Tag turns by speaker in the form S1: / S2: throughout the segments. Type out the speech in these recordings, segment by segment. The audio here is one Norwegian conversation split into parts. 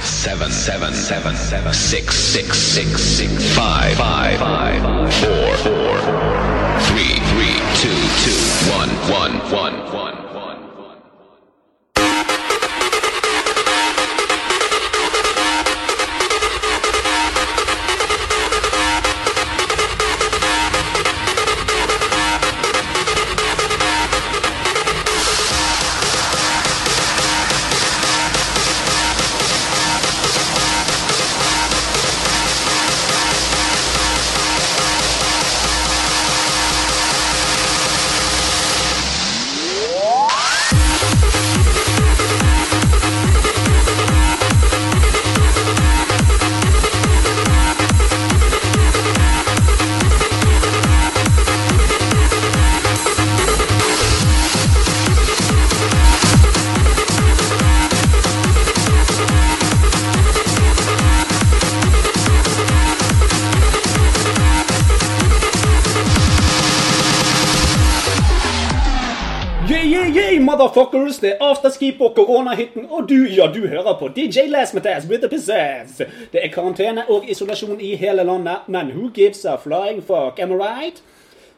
S1: seven, seven, seven, seven, six, six, six, six, five, five, five, four, four, three, three, two, two, one, one, one, one, one, one.
S2: Yeah, yeah, yeah, motherfuckers! Det er afterski på koronahytten, og Oh, du, ja, du hører på DJ Lasmetas with the pizzazz! Det er karantene og isolasjon i hele landet, men who gives a flying fuck, am I right?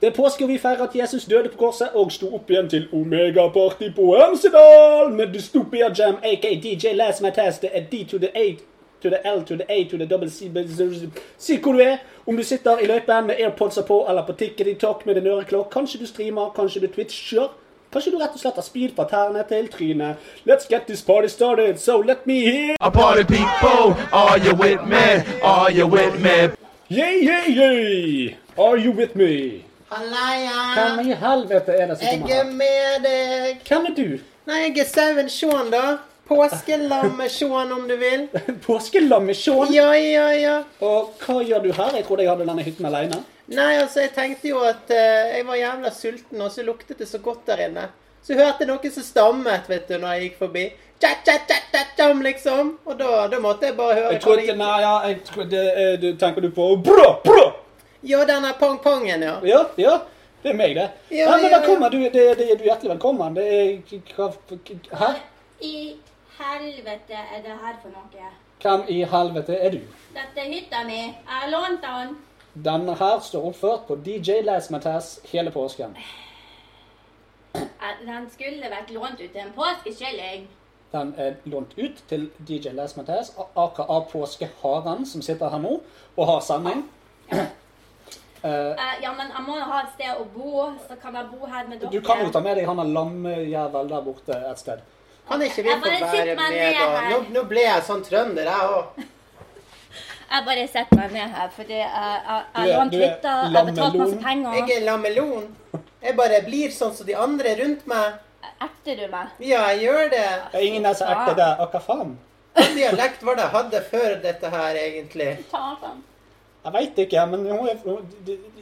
S2: Det er påske, og vi feirer at Jesus døde på korset og sto opp igjen til Omega-party på Hemsedal med Dystopia Jam, aka DJ Lasmetas. Det er D to the 8 to the L to the A to the double C b- z- z- Si hvor du er. Om du sitter i løypen med airpodser på eller på ticket i talk med en øreklokk, kanskje du streamer, kanskje du twitcher. Kanskje du rett og slett har spyd fra tærne til trynet. Let's get this party started, so let me hear
S3: A party people, are you with me? Are you with me?
S2: Yeah, yeah, yeah! Are you with me?
S4: Hallaya!
S2: Hvem i helvete er det som
S4: Jeg
S2: kommer her?
S4: er med deg.
S2: Hvem er du?
S4: Nei, jeg er sauen Sean, da. Påskelammet-Sean, om du vil.
S2: Påskelammet Sean?
S4: Ja, ja, ja.
S2: Og hva gjør du her? Jeg trodde jeg hadde denne hytten alene.
S4: Nei, altså, jeg tenkte jo at eh, jeg var jævla sulten, og så luktet det så godt der inne. Så hørte jeg noen som stammet, vet du, når jeg gikk forbi. Tja, tja, tja, tja, tjam, liksom. Og da, da måtte jeg bare høre
S2: Jeg
S4: hva det
S2: trodde,
S4: gikk.
S2: nei, ja, jeg trodde, eh, du, Tenker du på Brå, brå!
S4: Ja, denne pang-pangen, ja.
S2: Ja, ja. Det er meg, det.
S4: Ja,
S2: Nei, men
S4: ja,
S2: velkommen. Du, det, det, du er hjertelig velkommen. Det er hva, Hæ?
S5: I helvete er det her for noe?
S2: Hvem i helvete er du?
S5: Dette er hytta mi. Jeg har lånt den.
S2: Denne her står oppført på DJ Lasmatas hele påsken.
S5: Eh, Den skulle vært lånt ut til en påskekylling.
S2: Den er lånt ut til DJ Lasmatas, aka Påskeharen, som sitter her nå og har sending.
S5: Eh, ja, men jeg må ha et sted å bo, så kan jeg bo her med dere.
S2: Du kan jo ta med deg han der lammejævel der borte et sted.
S4: Kan ikke vi
S5: Jeg
S4: få
S5: bare
S4: være
S5: sitter meg
S4: med,
S5: ned
S4: da?
S5: her.
S4: Nå, nå ble jeg sånn trønder, jeg òg.
S5: Jeg bare setter meg ned her, fordi jeg- jeg jeg
S2: Du er-
S5: har lånt
S2: du er
S5: hytta, jeg har betalt masse
S2: lammelon.
S4: Jeg
S5: penger.
S4: er lamelon. Jeg bare blir sånn som de andre rundt meg.
S5: Erter du meg?
S4: Ja, jeg gjør det.
S2: Det er ingen der som erter deg. Å, hva faen?
S4: Hva dialekt var det jeg hadde før dette her, egentlig?
S5: Faen.
S2: Jeg veit ikke, men hun er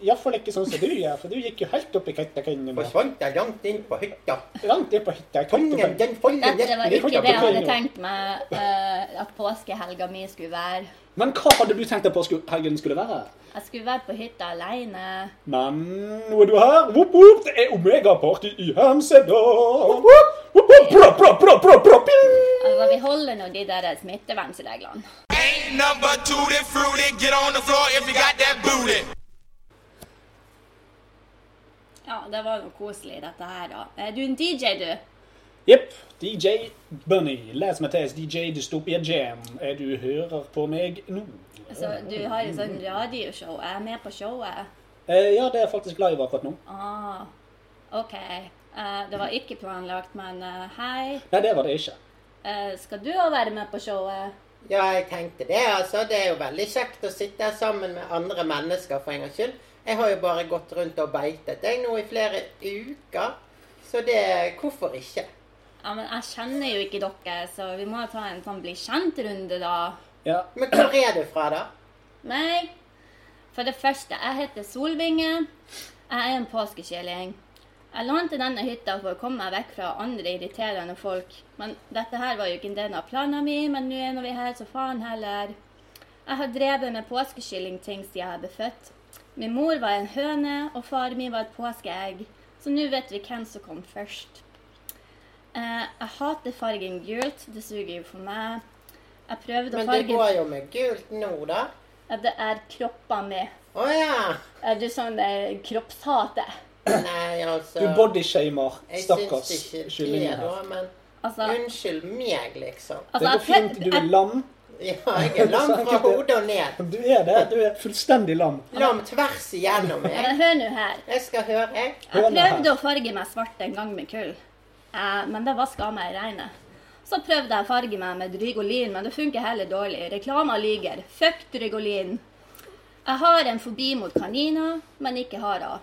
S2: iallfall ikke sånn som du gjør, for du gikk jo helt opp i køttekønnen.
S4: Forsvant jeg langt inn på hytta?
S2: Langt ned på hytta. Jeg tenkte
S4: Ungen,
S2: på-
S4: den folder
S5: Dette var
S4: nesten
S5: ikke
S4: hytta
S5: det jeg
S4: på
S5: hadde tenkt meg eh, at påskehelga mi skulle være.
S2: Men hva hadde du tenkt at påskehelgen skulle være?
S5: Jeg skulle være på hytta aleine.
S2: Men nå er du her. Woop, woop, det er Omega-party i Hemsedal. Woop, woop, woop, bra, bra, bra, bra, bra, ping.
S5: Altså, vi holder nå de der smittevernreglene.
S6: Ain't number tutti fruity. Get on the floor if you got that booty.
S5: Ja, det var jo koselig dette her, da. Er du en DJ, du?
S2: Jepp. DJ Bunny. Les Mathes DJ Dystopia Jam. Er du hører på meg nå?
S5: Altså, du har jo sånn radioshow. Jeg er med på showet.
S2: Eh, ja, det er faktisk live akkurat nå.
S5: Ah, OK. Eh, det var ikke planlagt, men eh, hei.
S2: Nei, det var det ikke.
S5: Eh, skal du òg være med på showet?
S4: Ja, jeg tenkte det, altså. Det er jo veldig kjekt å sitte her sammen med andre mennesker, for en gangs skyld. Jeg har jo bare gått rundt og beitet, jeg, nå i flere uker. Så det Hvorfor ikke?
S5: Ja, men Jeg kjenner jo ikke dere, så vi må ta en sånn bli kjent-runde, da.
S2: Ja.
S4: Men hvor er du fra, da?
S5: Nei. For det første, jeg heter Solvinge. Jeg er en påskekylling. Jeg lånte denne hytta for å komme meg vekk fra andre irriterende folk. Men dette her var jo ikke en del av planen min, men nå er nå vi her, så faen heller. Jeg har drevet med påskekyllingting siden jeg ble født. Min mor var en høne, og far min var et påskeegg. Så nå vet vi hvem som kom først. Eh, jeg hater fargen gult. Det suger jo for meg. Jeg prøvde å
S4: Men det
S5: farge
S4: går jo med gult nå, da.
S5: Ja, Det er kropper med.
S4: Å ja.
S5: Er du sånn eh, kroppshate?
S4: Nei, altså
S2: Du bodyshamer
S4: Jeg
S2: stakkars
S4: syns ikke det,
S2: kyllingen her.
S4: da, men
S5: Altså,
S4: unnskyld meg, liksom.
S2: Det
S5: altså
S2: går
S5: jeg
S2: fint.
S5: prøvde
S2: Du er
S5: jeg,
S2: lam.
S4: Ja, jeg er lam fra hodet og ned.
S2: Du er det. Du er fullstendig lam.
S4: Lam tvers igjennom,
S5: Ja,
S4: jeg.
S5: men Hør nå her.
S4: Jeg skal høre, jeg.
S5: Jeg
S2: Hør nå her.
S5: prøvde å farge meg svart en gang med kull, eh, men det vaska meg i regnet. Så prøvde jeg å farge meg med Drygolin, men det funker heller dårlig. Reklama lyger. Fuck Drygolin. Jeg har en fobi mot kaniner, men ikke harer.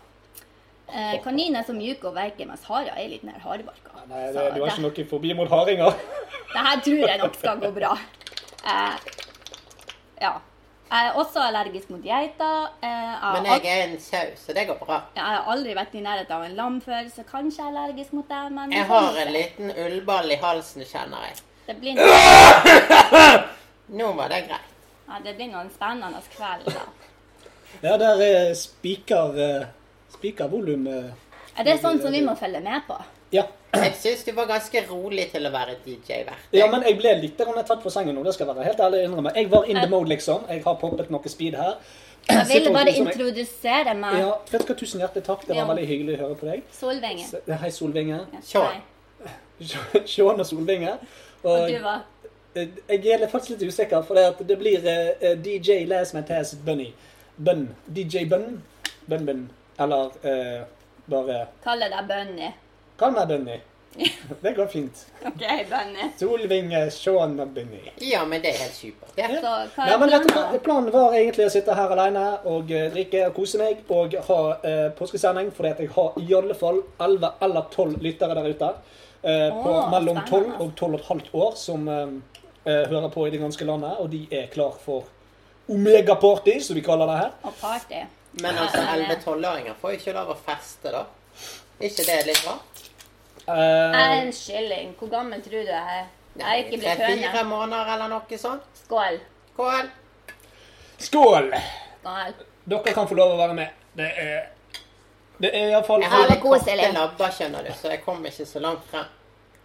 S5: Eh, kaniner er så mjuke og veike, mens harer er litt mer hardbarka.
S2: Nei, det,
S5: Så
S2: du har
S5: det-
S2: ikke noe fobi mot hardinger.
S5: det her tror jeg nok skal gå bra. Eh, ja. Jeg er også allergisk mot geiter. Eh, jeg, har
S4: Men
S5: al-
S4: jeg er en sau, så det går bra.
S5: jeg har aldri vært i nærheten av en lam før, så kanskje jeg er allergisk mot det, men
S4: Jeg har en liten ullball i halsen, kjenner jeg.
S5: det blir, noen,
S4: Nå var det greit.
S5: ja, det blir noen spennende kveld. Da.
S2: Ja, der er spiker eh, Spikervolum eh.
S5: Er det sånn som vi må følge med på?
S2: Ja.
S4: Jeg syns du var ganske rolig til å være DJ-vert.
S2: ja, men jeg ble litt grann tatt på sengen nå. Det skal jeg være helt ærlig å innrømme. Jeg var in the mode, liksom. Jeg har poppet noe speed her.
S5: Jeg ville
S2: Sitter
S5: bare
S2: som jeg-
S5: introdusere meg.
S2: Ja, vet du hva, tusen hjertelig takk. Det var
S5: Ja.
S2: veldig hyggelig å høre på deg.
S5: Solvingen.
S2: Se- Hei, Solvinge.
S4: Sean.
S5: Nei.
S2: Sean og Solvinge.
S5: Og du var
S2: Eh, Jeg er faktisk litt usikker, for det, at det blir eh, eh, DJ Last Man Taz Bunny. Bun. DJ Bun. Bun Bun. Eller eh, bare
S5: Kaller deg Bunny.
S2: Kall meg Bunny. Det går fint.
S5: OK, Bunny.
S2: Solvinge, Sean og Bunny.
S4: Ja, men det er helt supert. Det.
S5: Så hva
S2: Nei,
S5: er
S2: men vet du hva?
S5: planen?
S2: Planen var egentlig å sitte her alene og eh, drikke og kose meg og ha eh, påskesending, fordi at jeg har i alle fall 11 eller 12 lyttere der ute eh, på
S5: Åh,
S2: mellom 12
S5: spennende.
S2: og 12 og et halvt år som eh, eh, hører på i det ganske landet, og de er klar for Omega-party, som de kaller det her.
S5: Og party.
S4: Men altså, 11-12-åringer får jo ikke lov å feste, da. ikke det litt rart?
S5: Jeg er
S2: Eh,
S5: en kylling. Hvor gammel tror du jeg er? Jeg er ikke blitt høne.
S4: Fire måneder eller noe sånt.
S5: Skål.
S4: Kål.
S2: skål!
S5: Skål.
S2: Dere kan få lov å være med. Det er, det er iallfall
S4: Jeg har litt
S5: kos,
S4: korte
S5: Elin.
S4: labber, skjønner du, så jeg kom ikke så langt frem.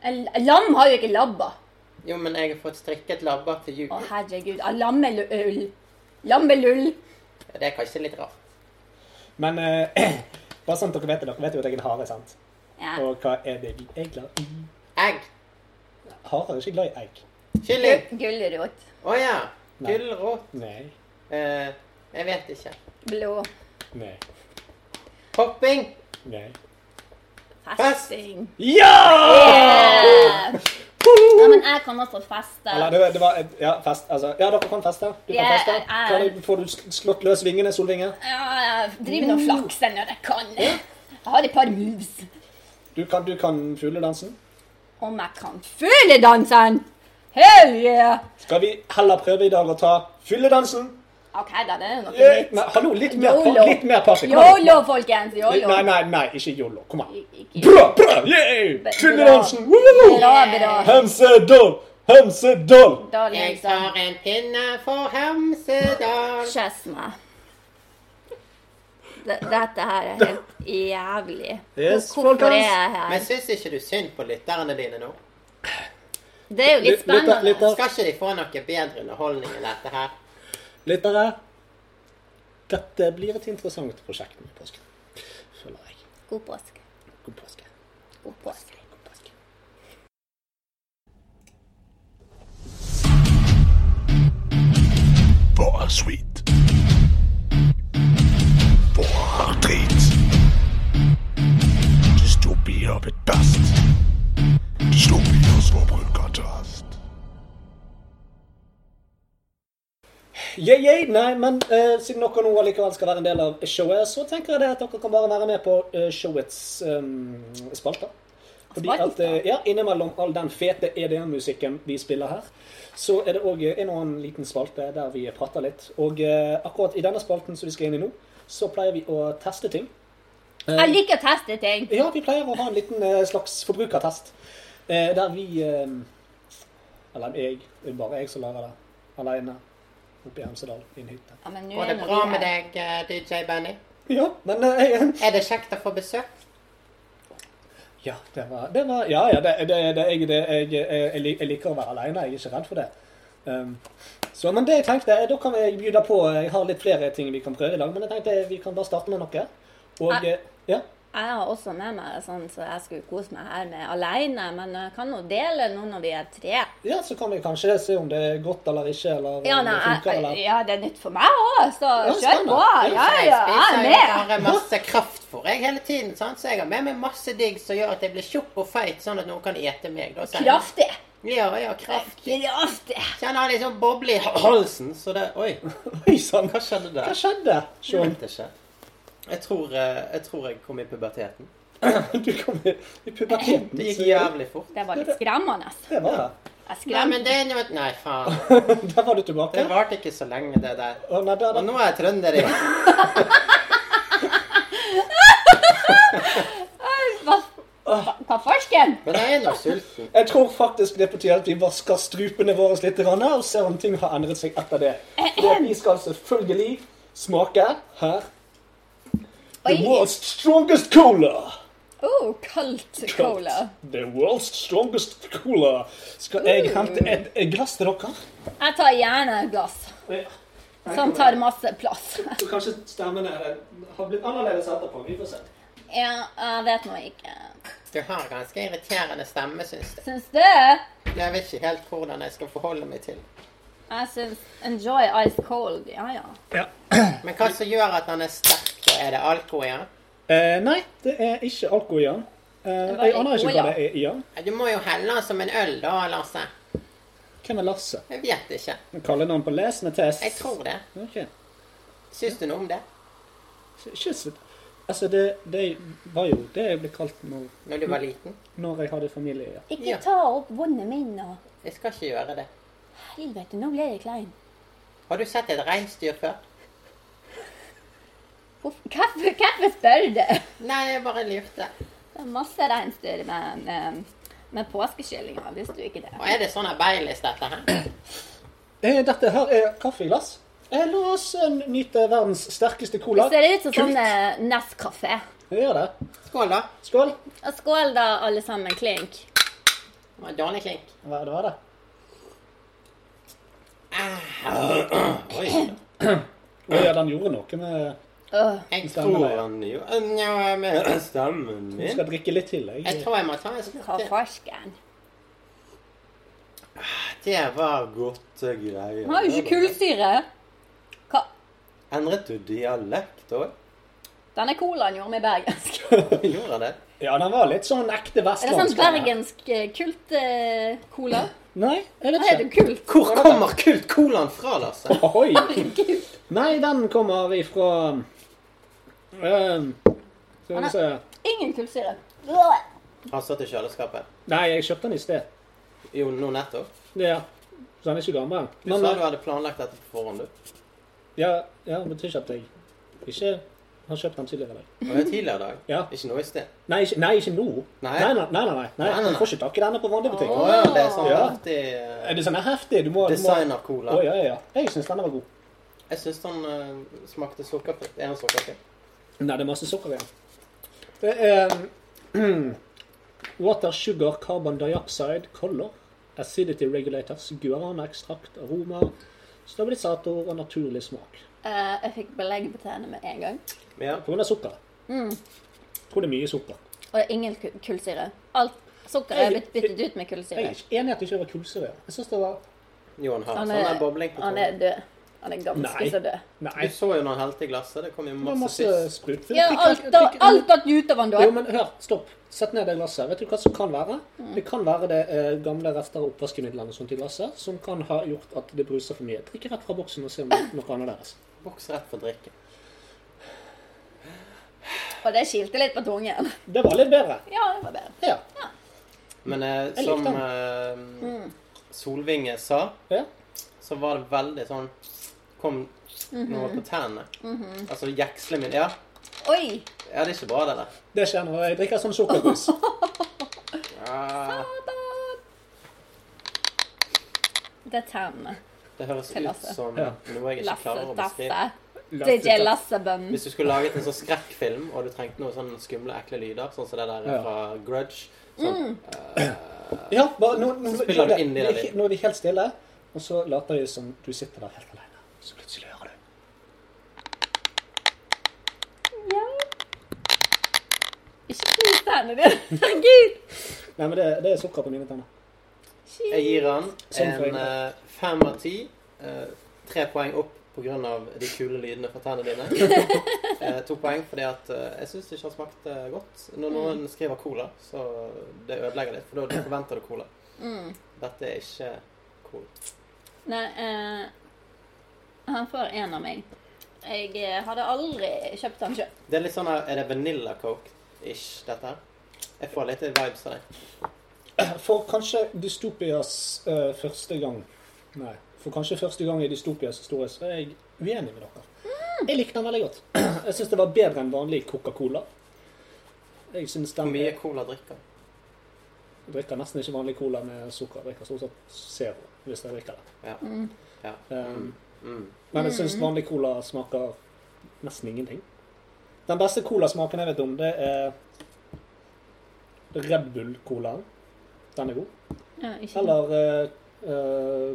S5: En Lam har jo ikke labber.
S4: Jo, men jeg har fått strikket labber til jul.
S5: Å, herregud. Ah, Lammelull. Lammelull.
S4: Det er kanskje litt rart.
S2: Men eh, bare sånn at dere vet det, dere vet jo at jeg er en hare, sant?
S5: Ja.
S2: Og hva er det vi er glad i?
S4: Egg.
S2: Harer er ikke glad i egg.
S4: Kylling.
S5: Gulrot.
S4: Å ja.
S2: Nei.
S4: Gulrot.
S2: Nei.
S4: Eh, jeg vet ikke.
S5: Blå.
S2: Nei.
S4: Hopping.
S2: Nei.
S5: Festing.
S2: Ja!
S5: Yeah! Ja, men jeg kan også feste.
S2: Ah! Eller, det, var- det var et- Ja, fest. Altså, ja, dere kan feste. Du kan
S5: Ja,
S2: feste.
S5: jeg- jeg-
S2: Kan du, får du sl- slått løs vingene, Solvinge?
S5: Ja, jeg driver og flakser når jeg kan. Jeg har et par moves.
S2: Du kan, du kan fugledansen.
S5: Om jeg kan fugledansen! Hell yeah!
S2: Skal vi heller prøve i dag å ta fylledansen?
S5: OK, da. Det er jo noe
S2: Eh,
S5: nytt.
S2: Nei, hallo, litt mer,
S5: Yolo.
S2: litt mer party. Kom an.
S5: Yolo, folkens. Yolo.
S2: Nei, nei, nei, ikke yolo. Kom an.
S5: Ikke-
S2: Bra, bra! Yeah! Fylledansen!
S5: Bra,
S2: woo!
S5: bra.
S2: Hemsedal! Hemsedal!
S5: Da
S4: Jeg
S5: liksom
S4: tar en pinne for Hemsedal.
S5: Kjess meg. D- Dette her er helt jævlig.
S2: Yes,
S5: Hvor- Hvorfor er
S2: folkens.
S5: jeg
S4: Men
S5: her?
S4: syns ikke du synd på lytterne dine nå?
S5: Det er jo litt
S2: Lytt- lytter-
S5: spennende.
S2: lytter-
S4: Skal ikke de få noe bedre underholdning enn dette her?
S2: Lyttere, dette blir et interessant prosjekt med påsken. Føler jeg.
S5: God påske.
S2: God påske.
S5: God påske.
S2: God påske.
S1: Bara skit. Bara drit. Dystopier bedast. Dystopier förbrukartast.
S2: Yeah, yeah. Nei, men eh, siden dere nå allikevel skal være en del av showet, så tenker jeg det at dere kan bare være med på eh, showets um, spalter. Fordi at, eh, ja, Innimellom all den fete EDM-musikken vi spiller her, så er det òg en og annen liten spalte der vi prater litt. Og eh, akkurat i denne spalten som vi skal inn i nå, så pleier vi å teste ting. Eh,
S5: Jeg liker å teste ting.
S2: Ja, vi pleier å ha en liten eh, slags forbrukertest. eh, Der vi eh, Eller jeg. Det er bare jeg som lager det. Aleine. Oppe i Hemsedal, i en hytte.
S5: Ja, men nå
S4: Går
S5: er
S4: det
S5: nå
S4: bra
S5: vi
S4: med
S5: her.
S4: deg, eh, DJ Benny?
S2: Ja, men eh, jeg,
S4: Er det kjekt å få besøk?
S2: Ja, det var, det var Ja, ja, det, det, det, jeg, det jeg, jeg, jeg, lik- jeg liker å være aleine. Jeg er ikke redd for det. Um, så, men det jeg tenkte, eh, da kan jeg bjuda på eh, Jeg har litt flere ting vi kan prøve i dag, men jeg tenkte eh, vi kan bare starte med noe. Og
S5: Nei.
S2: eh, ja.
S5: Jeg har også med meg sånn så jeg skulle kose meg her med alene, men jeg kan jo dele nå når vi er tre.
S2: ja, så kan vi kanskje se om det er godt eller ikke, eller
S5: Ja,
S2: om
S5: nei,
S2: det funker,
S5: jeg,
S2: eller
S5: ja det er nytt for meg òg, så kjør
S2: spennende.
S5: på. Ja,
S4: Jeg
S5: ja, jeg
S4: spiser
S5: er
S4: jo
S5: med.
S4: bare masse kraftfôr jeg hele tiden, sant? så jeg har med meg masse digg som gjør at jeg blir tjukk og feit, sånn at noen kan ete meg. Da, sier jeg.
S5: Kraftig.
S4: Ja, ja, kraft.
S5: Kraftig.
S4: Kjenner jeg liksom boble i halsen, så det Oi,
S2: Oi sann,
S4: hva skjedde
S2: hva
S4: der?
S2: skjedde?
S4: Jeg
S2: Sean,
S4: vet ikke. Jeg tror, eh, jeg tror jeg kom i puberteten.
S2: du kom i, i puberteten.
S4: Det gikk
S2: så-
S4: jævlig fort.
S5: Det var litt skremmende.
S2: Det var det.
S5: Jeg
S4: Nei, men
S5: skremmer.
S4: det er jo et Nei, faen.
S2: Der var du tilbake.
S4: Det varte ikke så lenge, det der.
S2: Å, nei, der,
S4: Og
S2: der.
S4: nå er jeg trønder igjen.
S5: Hva, hva- hva farsken?
S4: Men jeg er nå sulten.
S2: Jeg tror faktisk det er på tide at vi vasker strupene våre litt grann, og ser om ting har endret seg etter det.
S5: Eh,
S2: For vi skal selvfølgelig smake her The
S5: Oi.
S2: world's strongest cola.
S5: Oh, kaldt cola.
S2: The world's strongest cola. Skal jeg hente et, et glass til dere?
S5: Jeg tar gjerne et glass som tar masse plass.
S2: Så kanskje stemmene har blitt annerledes etterpå. Vi får se.
S5: Ja, jeg vet nå ikke.
S4: Du har ganske irriterende stemme, syns jeg.
S5: Syns du?
S4: Jeg vet ikke helt hvordan jeg skal forholde meg til
S5: Jeg syns Enjoy Ice Cold. Ja, ja.
S4: Men hva som gjør at han er sterk, da? Er det alkohol? Ja?
S2: Eh, nei, det er ikke alkohol i den. Eh,
S5: var
S2: jeg aner ikke
S5: alkohol,
S2: hva det er i den.
S4: Du må jo helle han som en øl, da, Lasse.
S2: Hvem er Lasse?
S4: Jeg vet ikke.
S2: Kaller navn på lesende test.
S4: Jeg tror det.
S2: Ok.
S4: Syns du noe om det?
S2: Så Ikke så Altså, det, det var jo det jeg ble kalt når,
S4: Når du var liten?
S2: når jeg hadde familie. Ja.
S5: Ikke
S4: Ja.
S5: ta opp vannet mitt nå.
S4: Jeg skal ikke gjøre det.
S5: Helvete, nå ble jeg klein.
S4: Har du sett et reinsdyr før?
S5: Hvorfor- Hvorfor hvorfor spør du?
S4: Nei, jeg bare lurte.
S5: Det er masse reinsdyr med, med, med påskekyllinger, visste du ikke det?
S4: Og er det sånn her Baileys, dette her?
S2: Eh, dette her er kaffeglass. Eh, la oss eh, nyte verdens sterkeste cola.
S5: Det ser ut som
S2: Kult.
S5: sånn eh, Nescafé.
S2: Vi gjør det.
S4: Skål, da.
S2: Skål.
S5: Og skål da, alle sammen. Klink.
S4: Det var en Dårlig klink.
S2: Hva det var det?
S4: Oi.
S2: Å ja, den gjorde noe med
S5: Åh,
S4: Jeg
S2: Stemmen,
S4: tror
S2: ja.
S4: han gjorde eh, Nja, med stemmen
S2: Jeg
S4: min
S2: skal drikke litt til.
S4: Jeg
S2: Jeg.
S4: tror jeg må ta en sånn- slurk
S5: hva
S4: til.
S5: farsken?
S4: Det var godt eh, greier.
S5: Den har jo ikke kullsyre. Hva?
S4: Endret du dialekt òg?
S5: Denne colaen gjorde meg bergensk.
S4: Gjorde han det?
S2: Ja, den var litt sånn ekte
S5: Er det sånn
S2: vestlandsk.
S5: bergensk eh, kult eh, cola?
S2: Nei, jeg
S5: Hva er
S2: vet
S5: det
S2: ikke.
S5: kult?
S4: Hvor kommer kult colaen fra, Lasse?
S2: Ohoi.
S5: Herregud.
S2: Nei, den kommer ifra um, Skal vi se
S5: Ingen kullsyre.
S4: Han satt i kjøleskapet.
S2: Nei, jeg kjøpte den i sted.
S4: Jo, nå nettopp.
S2: Ja. Så den er ikke gammel.
S4: Du sa du hadde planlagt dette på forhånd, du.
S2: Ja, ja, det betyr ikke at jeg ikke har kjøpt den tidligere i dag.
S4: Og det er tidligere i dag.
S2: Ja.
S4: Ikke nå i sted.
S2: Nei, ikke, nei, ikke nå.
S4: Nei.
S2: Nei, nei, nei, nei, nei.
S4: nei, nei.
S2: Du får ikke tak i denne på vanlig butikk.
S4: Å ja, det er sånn
S2: Ja.
S4: heftig eh,
S2: Er det sånn heftig? Du må, du må... Å,
S4: designer-cola.
S2: ja, ja, ja. Jeg syns denne var god.
S4: Jeg syns den eh, smakte sukkerfri. Er den sukkerfri?
S2: Nei, det er masse sukker igjen. Det er Water, sugar, carbon dioxide, color, acidity regulators, guaranaekstrakt, aroma, stabilisator og naturlig smak.
S5: Eh, jeg fikk belegg på tennene med en gang.
S4: Ja.
S2: På grunn av sukkeret.
S5: Mm.
S2: Jeg Tror det er mye sukker.
S5: Og det er ingen ku- kullsyre. Alt sukkeret er blitt byttet ut med
S2: Jeg
S5: kullsyre.
S2: er ikke enig i at det ikke var kullsyre. Jeg synes det var
S4: Jo, han har
S5: Han
S4: sånn der
S5: er,
S4: bobling på
S5: han
S4: tonen.
S5: er død. Han er
S2: Nei.
S5: ganske så død.
S2: Nei.
S4: Du så jo når han helte i glasset. Det kom jo
S2: Det var
S4: masse
S2: masse
S4: fisk.
S2: sprut.
S5: Ja,
S2: Drikk-
S5: alt
S2: drikk-
S5: datt
S2: drikk-
S5: alt datt ut av han da.
S2: Jo, men hør, stopp. Sett ned det glasset. Vet du hva som kan være? Det kan være det eh, gamle rester av oppvaskemidlene og sånt i glasset, som kan ha gjort at det bruser for mye. Drikk rett fra boksen og se om det er noe annerledes.
S4: Boks rett for drikke.
S5: Og det kilte litt på tungen.
S2: Det var litt bedre.
S5: Ja, det var bedre.
S2: Ja.
S4: Men eh,
S2: likte
S4: som eh, Solvinge sa,
S2: ja.
S4: så var det veldig sånn Kom noe på tærne. Altså jeksle min Ja,
S5: Oi!
S4: ja det er ikke bra, det der.
S2: Det kjenner jeg. Jeg drikker sånn sukkerbrus.
S4: Ja,
S5: Det er tennene.
S4: det høres
S5: Til
S4: ut
S5: Lasse.
S4: som
S2: Ja.
S4: noe jeg ikke
S5: Lasse,
S4: klarer å
S5: Dasse.
S4: beskrive.
S5: DJ Lassebønn.
S4: Hvis du skulle laget en sånn skrekkfilm, og du trengte noen sånne skumle, ekle lyder, sånn som det der
S2: Ja.
S4: fra Grudge sånn,
S2: Ja, bare, nå, nå,
S4: Spiller du inn i det
S2: nå er de helt stille. Og så later de som du sitter der helt alene. Så plutselig hører du.
S5: Ikke knus tennene dine. Herregud.
S2: Nei, men det, det er sukker på mine tenner.
S4: Jeg gir han
S2: Sånn får jeg
S4: en
S2: det.
S4: eh, fem av ti. eh, Tre poeng opp pga. de kule lydene fra tennene dine. Eh, To poeng fordi at eh, jeg syns ikke han smakte godt.
S5: Mm.
S4: Når noen skriver cola, så det ødelegger litt, for da- da forventer du cola. Dette er ikke cola.
S5: Mm. Nei, eh, han får en av meg. Jeg eh, hadde aldri kjøpt han sjøl.
S4: Det er litt sånn her, Er det vanilla coke-ish, dette her? Jeg får litt vibes av det.
S2: For kanskje Dystopias eh, første gang Nei, for kanskje første gang i Dystopias historie så er jeg uenig med dere. Jeg likte den veldig godt. Jeg syns det var bedre enn vanlig Coca-Cola. Jeg syns
S4: Hvor
S2: den
S4: mye cola drikker du?
S2: Jeg drikker nesten ikke vanlig cola med sukker. Jeg drikker stort sett Zero hvis jeg drikker det.
S4: Ja.
S5: Mm.
S4: ja.
S2: Um,
S4: Mm.
S2: Men jeg syns vanlig cola smaker nesten ingenting. Den beste colasmaken jeg vet om, det er Red Bull-colaen. Den er god.
S5: Ja, ikke
S2: Eller eh, eh,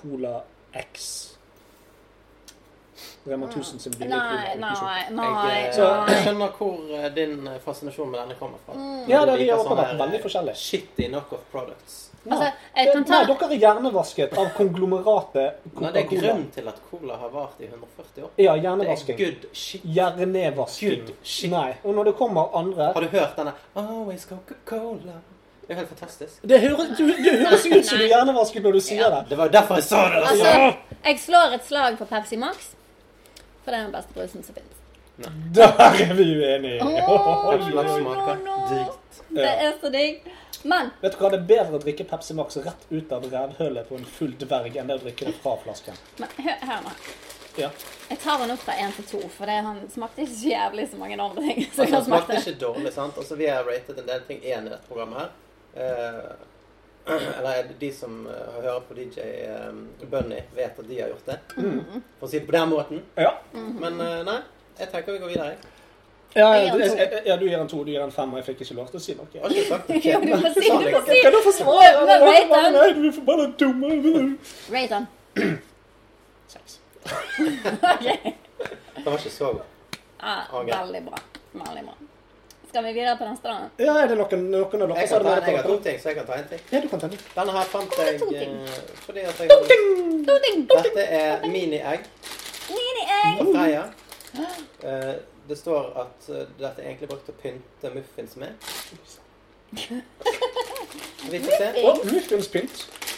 S2: Cola X. Rema 1000 sin
S5: Ah. Nei,
S2: billige
S5: nei,
S2: cola.
S5: nei.
S4: Jeg, eh,
S5: nei.
S4: jeg skjønner hvor eh, din eh, fascinasjon med denne kommer fra.
S5: Mm.
S2: Ja, det
S4: Du
S2: er
S4: liker
S2: de åpenbart
S4: sånne, eh,
S2: veldig forskjellige.
S4: Shitty knockoff products.
S5: Altså, jeg
S2: Det-
S5: kan ta-
S2: Nei, dere er hjernevasket av konglomeratet
S4: Nei, det er
S2: Coca-Cola.
S4: grunn til at cola har vart i 140 år.
S2: Ja,
S4: Det er
S2: hjernevasking.
S4: good shit.
S2: Hjernevasking.
S4: Good shit.
S2: Nei. Og når det kommer andre
S4: Har du hørt denne Always Coca-Cola? Det er jo helt fantastisk.
S2: Det høres, du, det høres ut som du er hjernevasket når du sier det.
S4: Det var jo derfor jeg sa det! Altså.
S2: Ja,
S5: Jeg slår et slag for Pepsi Max, for det er den beste brusen som fins.
S2: der er vi uenige.
S4: Pepsi Max smaker drit.
S5: Det er så digg. Men
S2: Vet du hva, det er bedre å drikke Pepsi Max rett ut av rævhølet på en full dverg enn det å drikke det fra flasken.
S5: men hør, hør nå.
S2: Ja.
S5: Jeg tar den opp fra én til to, for det, han smakte ikke så jævlig så mange andre ting. som
S4: Altså,
S5: han
S4: det smakte
S5: smakte.
S4: ikke dårlig, sant? Altså, vi har ratet en del ting én i dette programmet her. Eh, eller de som eh, hører på DJ eh, Bunny, vet at de har gjort det.
S5: Mm.
S4: For å si det på den måten.
S2: Mm. Ja.
S4: Men eh, nei, jeg tenker vi går videre. jeg.
S2: Ja,
S5: Jeg
S2: ja,
S5: gir
S2: du,
S5: en to.
S2: jeg- ja, du gir en to, du gir en fem, og jeg fikk ikke lov til å si noe.
S4: Jeg har ikke sagt det.
S5: Jo, du får si,
S4: Sa
S5: du
S4: det
S5: får
S4: ikke.
S5: si.
S2: Kan du forsvare
S5: Rate
S2: det?
S5: den.
S2: Nei, du er forbanna dumme.
S5: Rate den. Seks. Ok.
S4: Det var ikke så godt.
S5: Ja,
S4: Ok.
S5: Ah, veldig bra. Veldig bra. Skal vi videre på den stranden?
S2: Ja, er det noen, noen av dere
S4: Jeg
S2: som
S4: kan ta,
S2: har
S4: jeg har to
S2: det?
S4: ting, så jeg kan ta en ting.
S2: Ja, du kan tenne.
S4: Denne her fant
S5: Hvorfor
S4: jeg
S5: to ting?
S4: eh, fordi at jeg hadde...
S5: To ting. Uh.
S4: Dette er mini-egg
S5: Mini-egg.
S4: fra Freia. Eh, det står at eh, dette er egentlig brukt til å pynte muffins med. Så Vi får se.
S2: Og muffinspynt.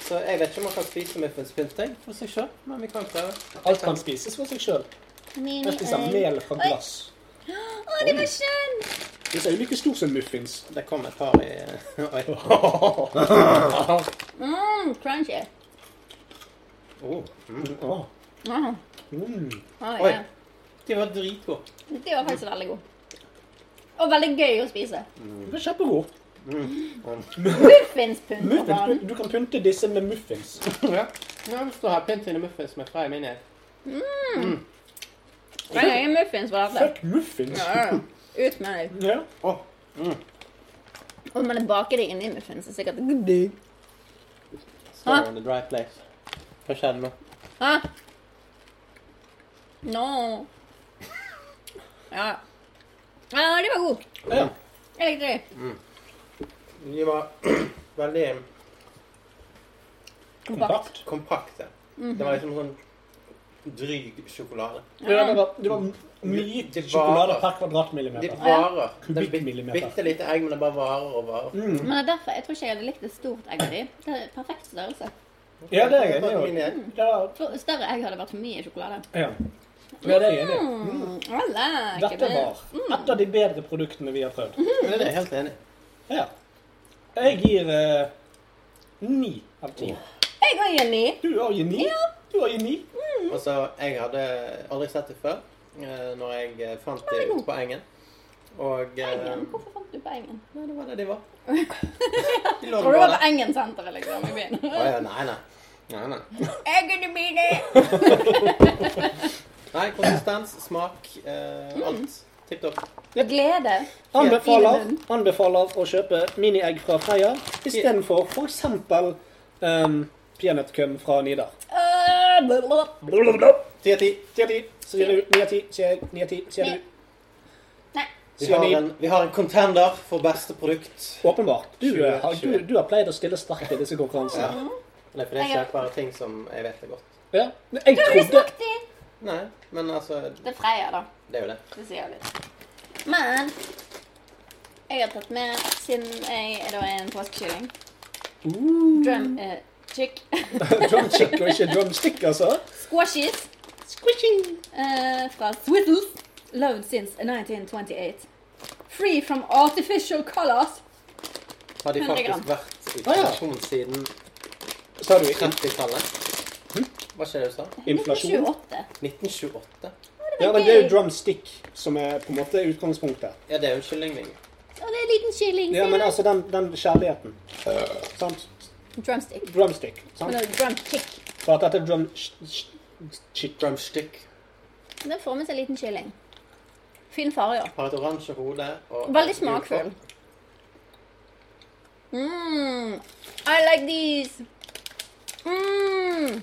S4: Så jeg vet ikke om man kan spise muffinspynt, jeg, for seg selv, men vi kan prøve.
S2: Alt kan spises for seg sjøl. Jeg spiser
S5: Mini-egg.
S2: mel fra glass.
S5: Å, det var skjønt!
S2: Disse er jo like store som muffins.
S4: Det kom et par i Oi.
S5: Mm, crunchy.
S4: Oh.
S2: Åh.
S5: Mm.
S2: Mm.
S5: Å,
S4: Oi.
S5: ja.
S4: De var dritgode.
S5: Det var faktisk veldig god. Og veldig gøy å spise.
S2: Det er kjempegod.
S5: Muffinspunn på
S2: Muffins,
S5: banen.
S2: du kan pynte disse med muffins.
S4: Ja. Nå står her pynt dine muffins med Freia mini-egg.
S5: Men jeg er muffins på dette.
S2: Fuck muffins.
S5: Ja, Ut med deg.
S2: Ja.
S5: Og man baker det inni muffins, er sikkert good day.
S4: Står
S5: Hæ?
S4: on the dry place. Hva skjedde nå?
S5: Hæ? No. Ja. Ja, de var gode.
S2: Ja.
S5: Jeg likte de.
S4: De var veldig
S5: Kompakt.
S4: kompakte.
S5: Mhm.
S4: Det var liksom sånn dryg sjokolade.
S2: Ja, det var, det var mye
S4: Det var-
S2: sjokolade per
S4: De
S2: kvadratmillimeter.
S4: varer. Det er
S2: Kubikkmillimeter.
S4: bitte lite egg, men det bare varer og varer.
S5: Men det er derfor jeg tror ikke jeg hadde likt et stort egg av de. Det er perfekt størrelse.
S2: Ja, det er jeg
S4: Jeg tar
S2: enig i.
S4: mine egg.
S2: Det er-
S5: For større egg hadde vært for mye sjokolade.
S2: Ja. Ja, det er jeg enig i.
S5: Mm, I like
S2: Dette
S5: it.
S2: var et av de bedre produktene vi har prøvd.
S4: Men Det er jeg helt enig i.
S2: Ja. Jeg gir eh, ni av ti.
S5: Jeg ga en ni.
S2: Du har gitt ni. Du har gitt ni.
S4: Altså, jeg hadde aldri sett det før eh, når jeg eh, fant det ute på engen. Og eh,
S5: Engen? Hvorfor fant du på Engen?
S4: Nei, det var det de var. De lå
S5: Tror du det var
S4: bare
S5: på Engen-senteret, liksom, i byen?
S4: Å ja, nei, nei. Nei, nei.
S5: Eggen i byen!
S4: nei konsistens, smak, eh,
S5: Mm.
S4: alt. Tipp topp.
S5: Glede.
S2: Anbefaler,
S5: Fint.
S2: anbefaler å kjøpe mini-egg fra Freia istedenfor f.eks. Um, peanøttkøm fra Nidar.
S5: Øh, blablabla.
S2: Ti av ti, ti av ti, sier du. Ni av ti, sier jeg. Ni av ti, sier du.
S5: Nei.
S4: Vi
S2: Sier
S4: har,
S2: ni.
S4: en, vi har en contender for beste produkt.
S2: Åpenbart. Du,
S4: Tjue,
S2: eh, har, du,
S4: tjue.
S2: du har pleid å stille sterkt i disse konkurransene.
S4: Nei, for det er ikke bare ting som jeg vet er godt.
S2: Ja. Jeg
S5: Har du
S2: trodde
S5: smakt inn?
S4: Nei, men altså
S5: Det er Freia, da.
S4: Det er jo det.
S5: Det sier jeg litt. Men jeg har tatt med, siden jeg er da er en påskekylling Drum eh, chick.
S2: drumchick og ikke drumstick, altså.
S5: Squashies. Eh, fra Swizzles. Loved since 1928. Free from artificial colors.
S4: Har de
S5: 100 gram.
S4: faktisk vært i
S2: Ah, ja.
S4: produksjon siden
S2: Sa du in
S4: 30-tallet? Hva skjer det du sa?
S2: inflasjon?
S5: 1928.
S4: 1928?
S2: Ja, men det er jo drumstick som er på en måte utgangspunktet.
S4: Ja, det er jo en kyllingving.
S5: Og det er en liten kylling.
S2: Ja,
S5: ser
S2: men
S5: du?
S2: altså den, den kjærligheten. Sant?
S5: Drumstick.
S2: Drumstick.
S5: Men
S2: Sant?
S5: det er drum chick.
S2: For at dette er drum... sh- sh- shit.
S4: Drumstick.
S5: Den former seg en liten kylling. Fin farge.
S4: Har et oransje hode og
S5: Veldig smakfull. Mm, I like these. Mm,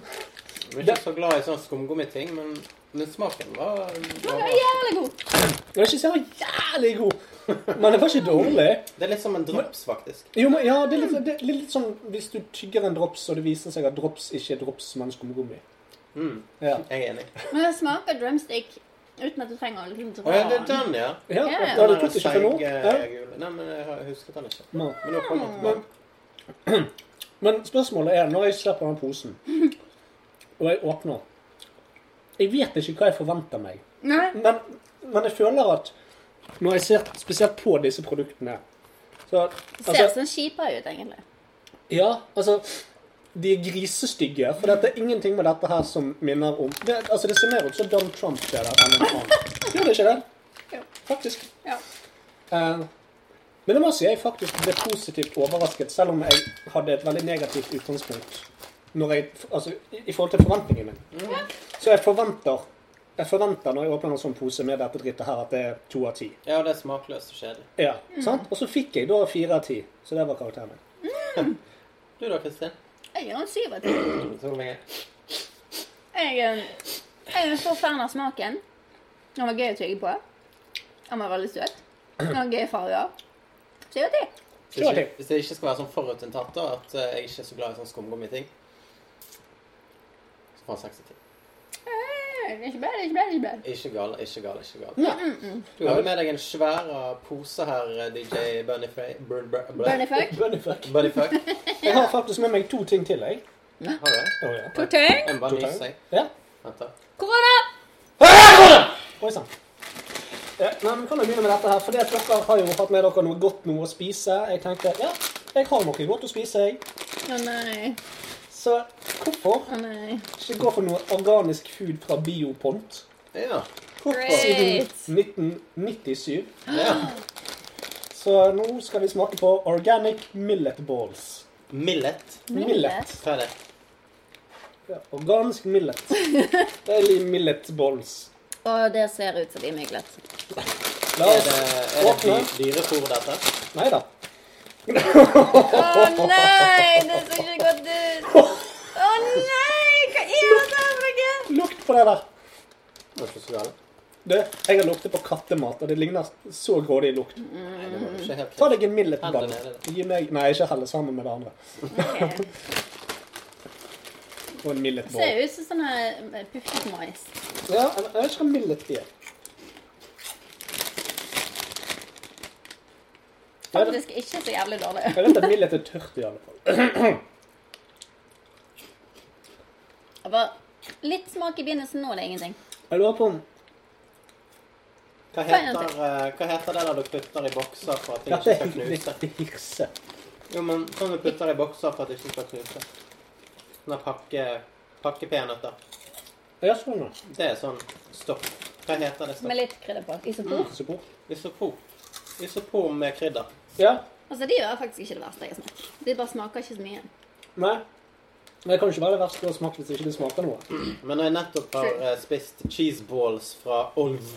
S4: Vi er ikke så glad i sånne skumgummiting, men, men smaken var,
S5: den
S4: var
S5: er
S4: bra.
S5: jævlig god.
S2: Den var ikke så jævlig god, men den var ikke dårlig.
S4: Det er litt som en drops, faktisk.
S2: Jo, men ja, det er litt, det er litt sånn hvis du tygger en drops, og det viser seg at drops ikke er drops, men skumgummi. Ja.
S4: Jeg er enig.
S5: Men den smaker drumstick uten at du trenger å liksom
S4: Å
S5: dra
S4: ja, det er
S5: den.
S4: den, ja.
S2: Ja,
S5: Ja, ja.
S2: da har du
S4: Den
S2: puttet ikke
S4: seige,
S2: for noe. Ja.
S4: gule. Nei, men jeg har- jeg husket den ikke.
S2: Nå.
S4: Men nå kommer den tilbake.
S2: Men spørsmålet er, når jeg slipper den posen, og jeg åpner Jeg vet ikke hva jeg forventer meg.
S5: Nei,
S2: Men, men jeg føler at når jeg ser spesielt på disse produktene så,
S5: ser
S2: altså,
S5: sånn kjipere ut, egentlig.
S2: Ja, altså De er grisestygge. For det er ingenting med dette her som minner om det, altså, det ser mer ut som Donald Trump gjør det. enn en annen. Gjør det ikke det?
S5: Jo.
S2: Faktisk.
S5: Ja.
S2: Eh, men det må si jeg faktisk ble positivt overrasket, selv om jeg hadde et veldig negativt utgangspunkt når jeg, altså, i i forhold til forventningene mine.
S5: Mm.
S2: Så jeg forventer, jeg forventer når jeg åpner en sånn pose med dette drittet her, at det er to av ti.
S4: Ja, det er smakløst og kjedelig.
S2: Ja,
S5: Mm.
S2: sant? Og så fikk jeg da fire av ti, så det var karakteren min.
S4: Du da, Kristin?
S5: Jeg gir en syv av ti.
S4: Du tror meg er.
S5: Jeg, eh, jeg er så fan av smaken. Den var gøy å tygge på. Den var veldig søt. Den var gøy i farger. Syv av ti.
S4: Hvis
S2: Kjør til.
S4: ikke- hvis det ikke skal være sånn forutinntatt, da, at eh, jeg ikke er så glad i sånn skumgummiting, så får han seks av ti.
S5: Eh, det er Ikke bad, det er ikke bad, det er ikke bad.
S4: Ikke gal, ikke gal, ikke
S5: Mm.
S4: gal.
S2: Nei.
S4: Du har jo med deg en svær eh, pose her, eh, DJ Bunnyfray... Bur, bur, bur,
S5: Burn the fuck.
S2: Bønnefuck.
S4: Bunnyfuck.
S2: Jeg har faktisk med meg to ting til, jeg.
S4: Har du det?
S2: Å, ja.
S5: Potet.
S4: En bare nyser jeg.
S2: Ja.
S4: Vent da.
S5: Korona!
S2: Oi sann. Eh, Nei, men kan jeg begynne med dette her? Fordi at dere har jo hatt med dere noe godt noe å spise. Jeg tenkte ja, jeg har noe godt å spise, jeg.
S5: Å nei,
S2: Så hvorfor
S5: å nei.
S2: ikke gå for noe organisk food fra Biopont?
S4: Ja.
S2: Hvorfor?
S5: Great!
S2: 1997.
S4: ja.
S2: Så nå skal vi smake på organic millet balls.
S4: Millet.
S2: Millet.
S4: Hva er det?
S2: Ja, organisk millet. Det er litt millet balls.
S5: Og det ser ut som de er myglet.
S2: La
S4: Er
S2: oss
S4: det, er det dy,
S2: Åpne.
S4: dyrefôr, dette?
S2: Nei da.
S5: Å nei, det så ikke godt ut! Å nei, hva er dette for noe?
S2: Lukt på det der.
S4: Det var ikke så galt.
S2: Du, jeg har luktet på kattemat, og det ligner så grådig lukt.
S4: Nei, det var jo ikke helt
S2: Ta deg en millet
S4: Hell det
S2: ball.
S4: ned i
S2: Gi meg Nei, ikke helle sammen med det andre. Og en millet
S5: Det ser
S2: ball.
S5: ut som sånn her puffet mais.
S2: Ja, jeg jeg vet ikke hva millet er. Jeg vet,
S5: Faktisk ikke så jævlig dårlig.
S2: jeg vet at millet er tørt, i alle fall.
S5: Det var litt smak i begynnelsen, nå er det ingenting.
S2: Jeg lurer på om
S4: Hva heter, eh, hva heter det der du putter i bokser for at ting
S2: Dette
S4: ikke
S2: er
S4: skal knuse?
S2: litt hirse.
S4: Jo, men sånn du putter i bokser for at det ikke skal knuse. Sånne pakke, pakkepeanøtter.
S2: Ja, sånn, ja.
S4: Det er sånn stopp. Hva heter det stopp?
S5: Med litt krydder på. Isopor.
S2: Isopor.
S4: Isopor. Isopor med krydder.
S2: Ja.
S5: Altså, de var faktisk ikke det verste jeg har smakt. De bare smaker ikke så mye.
S2: Nei. Men det kan jo ikke være det verste du har smakt hvis ikke det smaker noe.
S4: Men når jeg nettopp har eh, spist cheese balls fra Olv,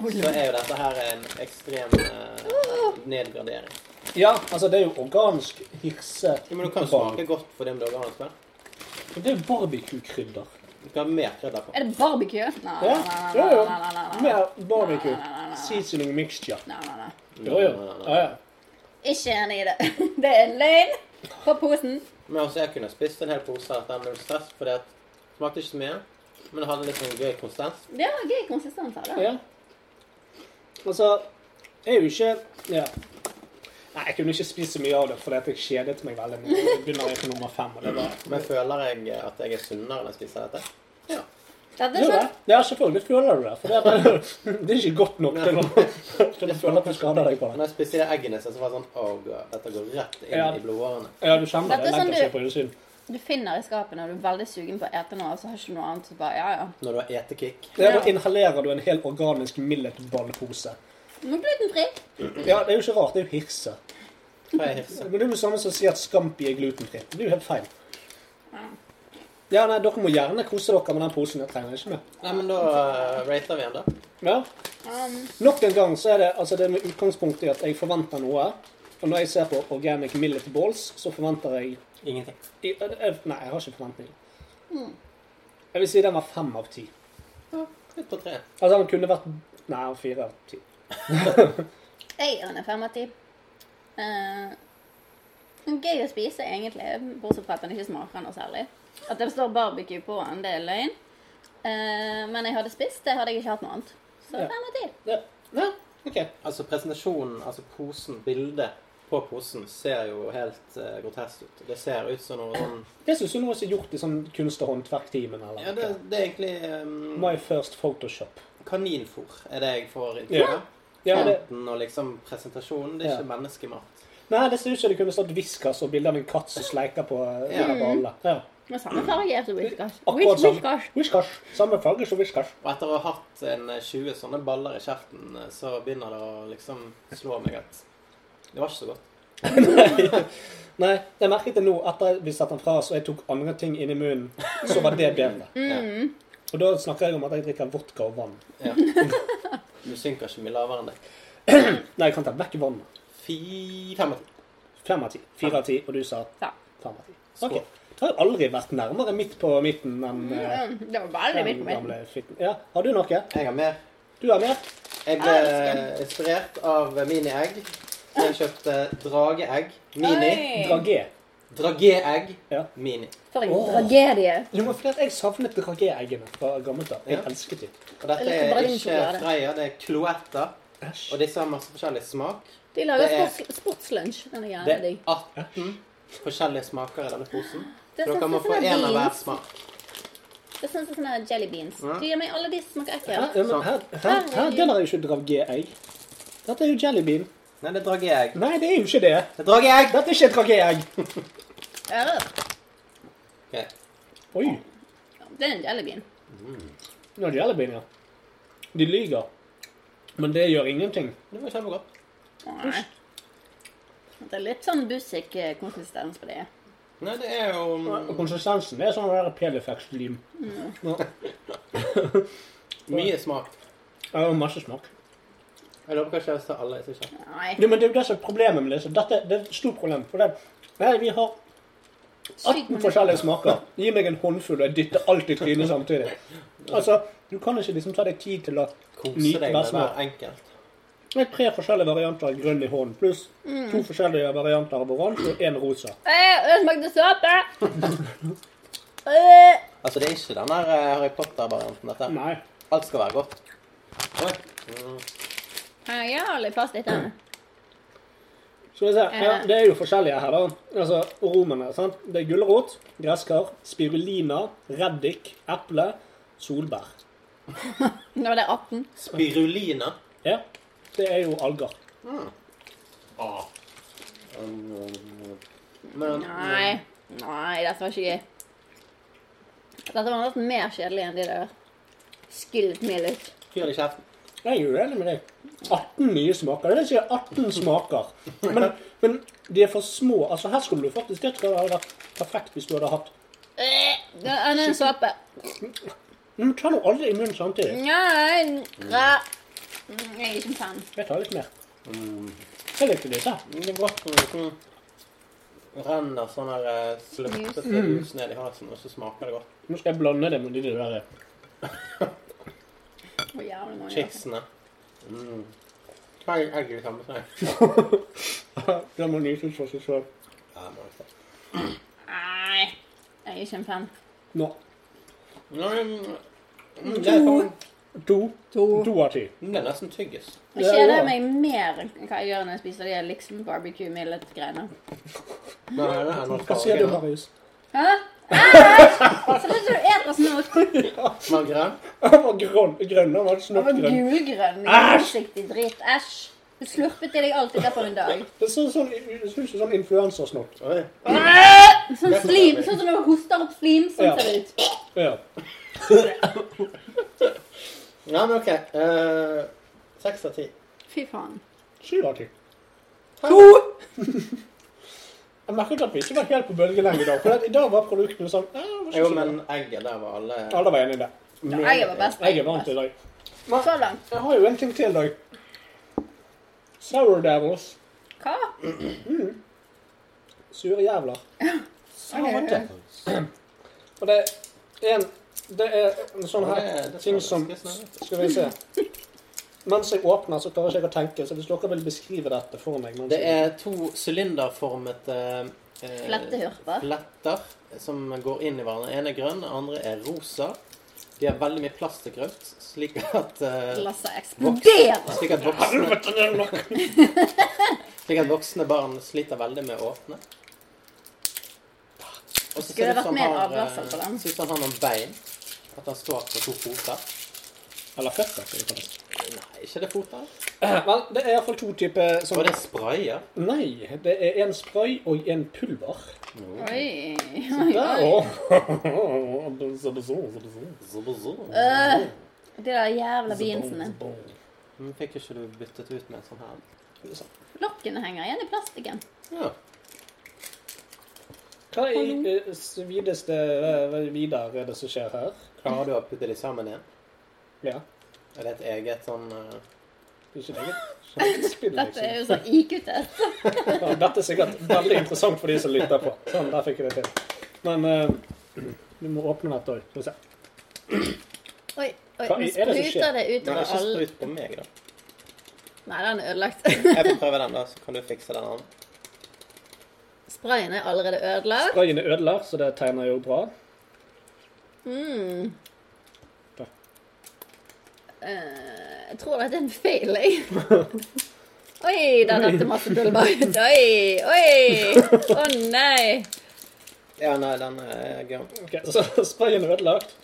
S4: så er jo dette her en ekstrem eh, nedgradering.
S2: Ja, altså, det er jo organisk hirse.
S4: Jo, men du kan
S2: ball.
S4: smake godt for det om du har annet før.
S2: Det er jo barbecue-krydder.
S4: altså. Du kan ha mer krydder på.
S5: Er det barbecue? Nei,
S2: Ja,
S5: nei,
S2: jo,
S5: nei,
S2: jo.
S5: nei, nei, nei, nei.
S2: Mer barbecue.
S5: Nei, nei, nei, nei.
S2: Seasoning mixture.
S5: Nei, nei, nei.
S4: Mm,
S2: Jo, jo. Ja, ja.
S5: Ikke enig i det. Det er løgn på posen.
S4: Men altså, jeg kunne spist en hel pose av dette med stress, fordi at det smakte ikke så mye. Men det hadde litt sånn gøy konsistens.
S5: Det var gøy konsistens her, da.
S2: Ja. Altså, jeg er jo ikke ja. Nei, jeg kunne ikke spist så mye av det fordi at jeg kjedet meg veldig. Nå begynner jeg på nummer fem. og det var...
S4: Men føler jeg eh, at jeg er sunnere når jeg spiser dette?
S5: Dette
S2: Jo,
S5: er
S2: ja.
S5: sånn.
S2: ja, selvfølgelig føler du det. For det er, det er ikke godt nok til å til å føle at du skader deg på
S4: Og
S2: det.
S4: Når jeg spiste de eggene, så var det sånn Åh, god, dette går rett inn
S2: Ja.
S4: i blodårene.
S2: Ja, du kjenner det. Det
S5: Dette er
S2: er
S5: sånn
S2: lett å se
S5: du-
S2: på innsiden.
S5: Du finner i skapet når du er veldig sugen på å ete noe, og så har du ikke noe annet. Så bare, ja, ja.
S4: Når du har etekick.
S2: Ja, da inhalerer du en hel organisk milletballpose.
S5: Nå er glutenfri.
S2: Ja, det er jo ikke rart. Det er jo hirse.
S4: Hva er hirse?
S2: Men det er jo det samme som å si at Scampi er glutenfri. Det blir jo helt feil. Ja, nei, dere må gjerne kose dere med den posen. Jeg trenger ikke mer.
S4: Nei, men da eh, rater vi den, da.
S2: Ja.
S5: Um,
S2: Nok en gang så er det, altså det er med utgangspunkt i at jeg forventer noe. Og når jeg ser på Organic Millet Balls, så forventer jeg
S4: Ingenting.
S2: i- eh, eh, Nei, jeg har ikke forventninger.
S4: Mm.
S2: Jeg vil si den var fem av ti.
S4: Ja, litt på tre.
S2: Altså den kunne vært Nei, fire av ti.
S5: Jeg gir den en fem av ti. Eh, gøy å spise, egentlig, bortsett fra at den ikke smaker noe særlig. At det står barbecue på den, det er løgn. Eh, men jeg hadde spist, det hadde jeg ikke hatt noe annet. Så
S2: Ja.
S5: fem av ti.
S2: Ja. Nei, OK.
S4: Altså presentasjonen, altså posen, bildet på posen ser jo helt eh, grotesk ut. Det ser ut som noe sånn
S2: Det syns du nå er gjort i sånn kunst- og håndverktimen eller
S4: Ja, det,
S2: noe.
S4: det er egentlig um,
S2: My first photoshop.
S4: kaninfôr, er det jeg får inntrykk
S2: Ja.
S4: av.
S2: Ja, det,
S4: Kanten og liksom presentasjonen. Det er ikke menneskemat.
S2: nei, det ser ut som det kunne stått Viskas og bilde av en katt som sleiker på eh,
S4: Ja.
S2: alle. Ja.
S5: Med samme farge altså, er som Whiskas.
S2: Akkurat
S5: Whis-
S2: samme.
S5: Whiskas.
S2: Whiskas. Samme farge som Whiskas.
S4: Og etter å ha hatt en eh, 20 sånne baller i kjeften, eh, så begynner det å liksom slå meg at det var ikke så godt.
S2: Nei, jeg merket det nå etter vi satte den fra oss og jeg tok andre ting inn i munnen, så var det bedre. Og da snakker jeg om at jeg drikker vodka og vann.
S4: Ja. Du synker ikke mye lavere enn det.
S2: Nei, jeg kan ta vekk vannet.
S4: Fi- Fem av ti.
S2: Fem av ti. Fire av ti, og du sa
S5: Ja.
S2: fem av ti.
S4: Skål.
S2: Ok. Jeg har jo aldri vært nærmere midt på midten enn eh,
S5: Mm, Det var
S2: den
S5: veldig vidt på midten.
S2: gamle fitten. Ja, har du noe?
S4: Jeg har mer.
S2: Du har mer?
S4: Jeg ble inspirert av mini-egg. Så jeg kjøpte drageegg. Mini.
S5: Oi.
S2: Dragé.
S4: Drageegg.
S2: Ja.
S4: Mini.
S5: For en
S2: Åh.
S5: tragedie.
S2: Jo, men fordi at jeg savnet dragé-eggene fra gammelt av. Jeg
S4: Ja.
S2: elsket dem.
S4: Og dette
S5: Jeg likte
S4: er
S5: bare din
S4: ikke
S5: sjokolade.
S4: Freia, det er Cloetta.
S2: Æsj.
S4: Og disse har masse forskjellig smak.
S5: De
S4: Det
S5: lager
S4: er-
S5: sports, sportslunsj. Den er
S4: Det
S5: jævlig
S4: er
S5: digg.
S4: 18 forskjellige smaker i denne posen.
S5: Det
S4: Så
S5: ser
S4: dere må
S5: ut
S4: få
S5: som
S4: én av hver
S5: beans.
S4: smak.
S5: Det ser ut som sånne jelly beans. Du gir meg alle de som smaker
S2: Hæ?
S5: ekkelt.
S2: Ja, men Her, her, her, den er jo ikke dragé-egg. Dette er jo jellybean.
S4: Nei, det er drageegg.
S2: Nei, det er jo ikke det.
S4: Det er drageegg!
S2: Dette er ikke et dragé-egg.
S5: Øh,
S4: Ok.
S2: Oi.
S5: Det er en jelly bean.
S2: Nå er det jellybean, ja. De lyger. Men det gjør ingenting.
S4: Det var kjempegodt.
S5: Nei. Det er litt sånn bussik-konsistens på det.
S4: Nei, det er jo mm,
S2: Og konsistensen det er sånn der Pelifex-lim.
S4: mye smak.
S2: Det er masse smak.
S4: Jeg lover kanskje jeg sa alle. Jeg synes ikke.
S5: Nei.
S2: Jo, men det er jo det som er problemet med disse. Dette det er et stort problem. For det, nei, vi har 18 forskjellige smaker. Gi meg en håndfull, og jeg dytter alt i trynet samtidig. Altså, du kan ikke liksom ta deg tid til å
S4: Kose
S2: nyte
S4: deg
S2: hver
S4: med
S2: smak.
S4: hver enkelt.
S2: Det er tre forskjellige varianter av grønn i hånden, pluss to forskjellige varianter av oransje og én rosa.
S5: Øh, det smakte såpe! Øh,
S4: Altså, det er ikke den der eh, Harry Potter-varianten, dette.
S2: Nei.
S4: Alt skal være godt. Oi. Mm.
S5: her er jævlig fast i tennene.
S2: Skal vi se, ja, Det er jo forskjellige her, da. Altså, Romene. sant? Det er gulrot, gresskar, spirulina, reddik, eple, solbær.
S5: Nå er det 18.
S4: Spirulina.
S2: Ja, det er jo alger.
S4: Men
S5: Nei. Nei, dette var ikke gøy. Dette var nesten mer kjedelig enn de der skillet meg litt.
S4: fyr det i kjeften.
S2: Jeg er uenig med deg. 18 nye smaker. Det sier 18 smaker. Men, men de er for små. Altså, Her skulle du faktisk Det tror jeg hadde vært perfekt hvis du hadde hatt
S5: Øh, Det er enda en såpe.
S2: Men Mm, ta nå alle i munnen samtidig.
S5: Nei, ra- Mm, Jeg er ikke en fan.
S2: Jeg tar litt mer. Jeg likte disse.
S4: Det er godt. Mm. sånn renner sånn her eh, slurpete jus
S2: Mm.
S4: ned i halsen, og så smaker det godt.
S2: Nå skal jeg blande det med de der eh,
S5: Og jævlig mange.
S4: Chipsene. Mm. Hva er egg i samme seg?
S2: Det må nyses for seg selv.
S4: Ja, det må jeg si.
S5: Nei, jeg er ikke en fan.
S2: Nå.
S4: Nei, mm, mm, det er faen- mm,
S2: To. To av ti.
S4: det er nesten tyggis.
S5: Jeg
S2: Ja,
S5: kjeder
S2: ja.
S5: meg mer enn hva jeg gjør når jeg spiser de liksom barbecue millet-greiene.
S4: Nei, det er noe
S2: Hva sier du,
S4: farge.
S2: Marius?
S5: Hæ? Æsj! Ser ut som du eter sånn snop.
S4: Margarin?
S2: Han var grønn. grønn. Han var
S5: Det var
S2: snoppgrønn.
S5: sånn gulgrønn. Usiktig dritt. Æsj. Du slurpet i deg alt i løpet av en dag.
S2: Det ser ut som sånn influensersnopp.
S4: Oi.
S5: Sånn slim, sånn som når du hoster opp slim. Sånn
S2: Ja.
S5: ser det ut.
S2: Ja.
S4: Ja, men ok. Eh, Seks av ti.
S5: Fy faen.
S2: Syv av ti.
S4: To!
S2: Jeg merket at vi ikke var helt på bølgelengde i dag. For at i dag var produktene sånn eh, det var ikke
S4: Jo,
S2: så bra.
S4: men egget der var alle
S2: Alle var enige i det.
S5: Ja, jeg var best.
S2: Jeg er vant til i dag.
S5: Så langt.
S2: Jeg har jo en ting til i dag. Sour Devils.
S5: Hva?
S2: Sure jævler. Sate. Og det er en Det er en sånn
S4: Ja, det
S2: her
S4: er- det
S2: ting
S4: skal
S2: som
S4: jeg snakke.
S2: Skal vi se. Mens jeg åpner, så klarer ikke jeg å tenke. Så hvis dere vil beskrive dette for meg mens
S4: Det
S2: jeg-
S4: er to sylinderformete eh,
S5: Flettehurper.
S4: fletter som går inn i hverandre. Den ene er grønn, den andre er rosa. De har veldig mye plastikkrøft, slik at eh,
S5: Glasset eksploderer.
S4: slik at, voksne, slik at voksne barn sliter veldig med å åpne. Og så
S5: Skulle
S4: ser
S5: det
S4: det ut
S5: vært
S4: som
S5: mer
S4: han har,
S5: avlasser på
S4: eh,
S5: den?
S4: ser ut som han har noen bein. At han står på to foter.
S2: Eller føtter. skal vi kalle det.
S4: Nei, ikke det foter.
S2: Eh, Vel, det er iallfall to typer
S4: Og
S2: sånn
S4: det er sprayer.
S2: Nei, det er en spray og en pulver.
S5: Oi.
S2: Der, å. Så det så, så det så.
S5: Øh, De der jævla beansene.
S4: Men Mm, Fikk ikke du byttet ut med en sånn her?
S5: Lokkene henger igjen i plastikken.
S4: Ja.
S2: Hva i eh, svideste eh, videre er det som skjer her?
S4: Klarer du å putte de sammen igjen?
S2: Ja.
S4: Er det et eget sånn eh,
S2: Ikke det eget spill,
S5: Dette
S2: liksom.
S5: er jo så IQ-test.
S2: Ja, dette er sikkert veldig interessant for de som lytter på. Sånn, der fikk jeg det til. Men eh, du må åpne dette òg. Skal vi se.
S5: Oi, oi,
S2: Hva
S5: nå
S2: er det som skjer?
S5: spruter det
S4: Nei,
S5: utover
S4: ikke
S5: alle
S4: sprut på meg, da.
S5: Nei, den er ødelagt.
S4: Jeg får prøve den, da, så kan du fikse den andre.
S5: Sprayen er allerede ødelagt.
S2: Sprayen er ødelagt, så det tegner jo bra.
S5: Mm.
S2: Da.
S5: Eh, jeg tror dette er en feil, jeg. Oi, der datt det masse pulver ut. Oi, oi! Å nei!
S4: Ja, nei, den er gøy.
S2: Ok, Så sprayen er ødelagt.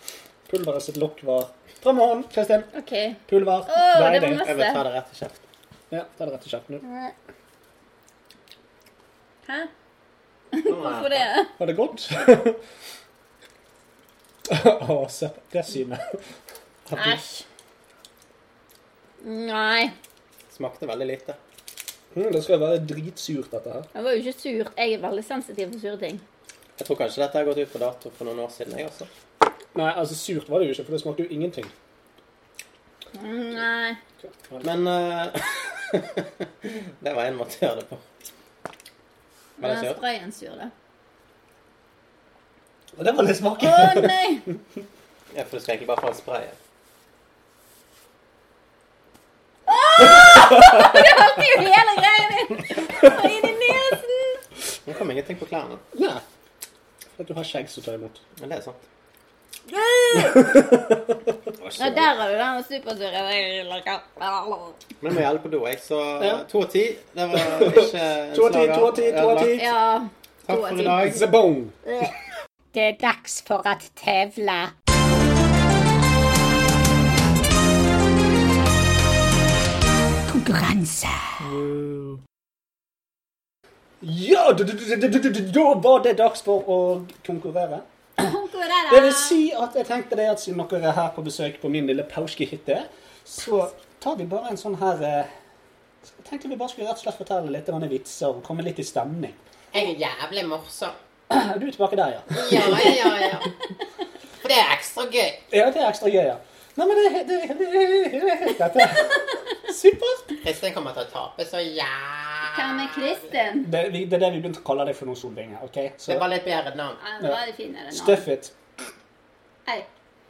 S2: Pulveret sitt lokk var Dra med hånden, Kristin.
S5: OK.
S2: Pulver.
S5: Å, det var
S4: Jeg vil ta
S5: masse.
S4: det rett i kjeften.
S2: Ja, det er rett i kjeften. nå.
S5: Hæ? Hvorfor det?
S2: Var det godt? Å, se på det synet.
S5: Æsj. Nei.
S4: Smakte veldig lite.
S2: Mm, det skal jo være dritsurt, dette her.
S5: Jeg var jo ikke sur. Jeg er veldig sensitiv for sure ting.
S4: Jeg tror kanskje dette har gått ut på dato for noen år siden, jeg også.
S2: Nei, altså surt var det jo ikke, for det smakte jo ingenting.
S5: Nei.
S4: Men eh, Det var en måte å gjøre det på. Var det
S5: Den
S4: søt?
S5: sprayen sur, da.
S2: Og det var litt smaken.
S5: Å nei!
S4: Ja, for du skal egentlig bare få en spray.
S5: Det er jo hele greia mi! Å, Inn i nesen!
S4: Nå kom ingenting på klærne.
S2: Nei. For at du har skjegg som tar imot.
S4: Men det er sant.
S5: Ja, der har du den supersure
S4: Men jeg må gjelde på do, jeg. Så
S2: Ja.
S4: to av ti. Det var ikke en
S2: To av ti, to av ti, to av ti.
S5: Ja.
S4: Takk
S5: to av
S4: for
S5: ti.
S4: i dag.
S2: Zabong.
S7: Det er dags for å tevle. Konkurranse.
S2: Ja, da- da- da- da- da- da- da var det dags for å konkurrere.
S5: Konkurrerer.
S2: Det vil si at jeg tenkte det at siden dere er her på besøk på min lille pauskehytte, så tar vi bare en sånn her eh, Jeg tenkte vi bare skulle rett og slett fortelle litt grann vitser og komme litt i stemning.
S8: Jeg er jævlig morsom.
S2: Er Du er tilbake der, ja.
S8: Ja, ja, ja. ja. For det er ekstra gøy.
S2: Ja, det er ekstra gøy, ja. Nei, men det, det, det, det, det, Dette er supert.
S8: Kristin kommer til å tape så jævlig
S5: Hva med Kristin?
S2: Det, vi- det er det vi begynte å kalle deg for noen solvinger. ok? Så
S8: Det var litt bedre navn.
S5: Ja, det var det fine det nå.
S2: stuff it.
S5: Hei.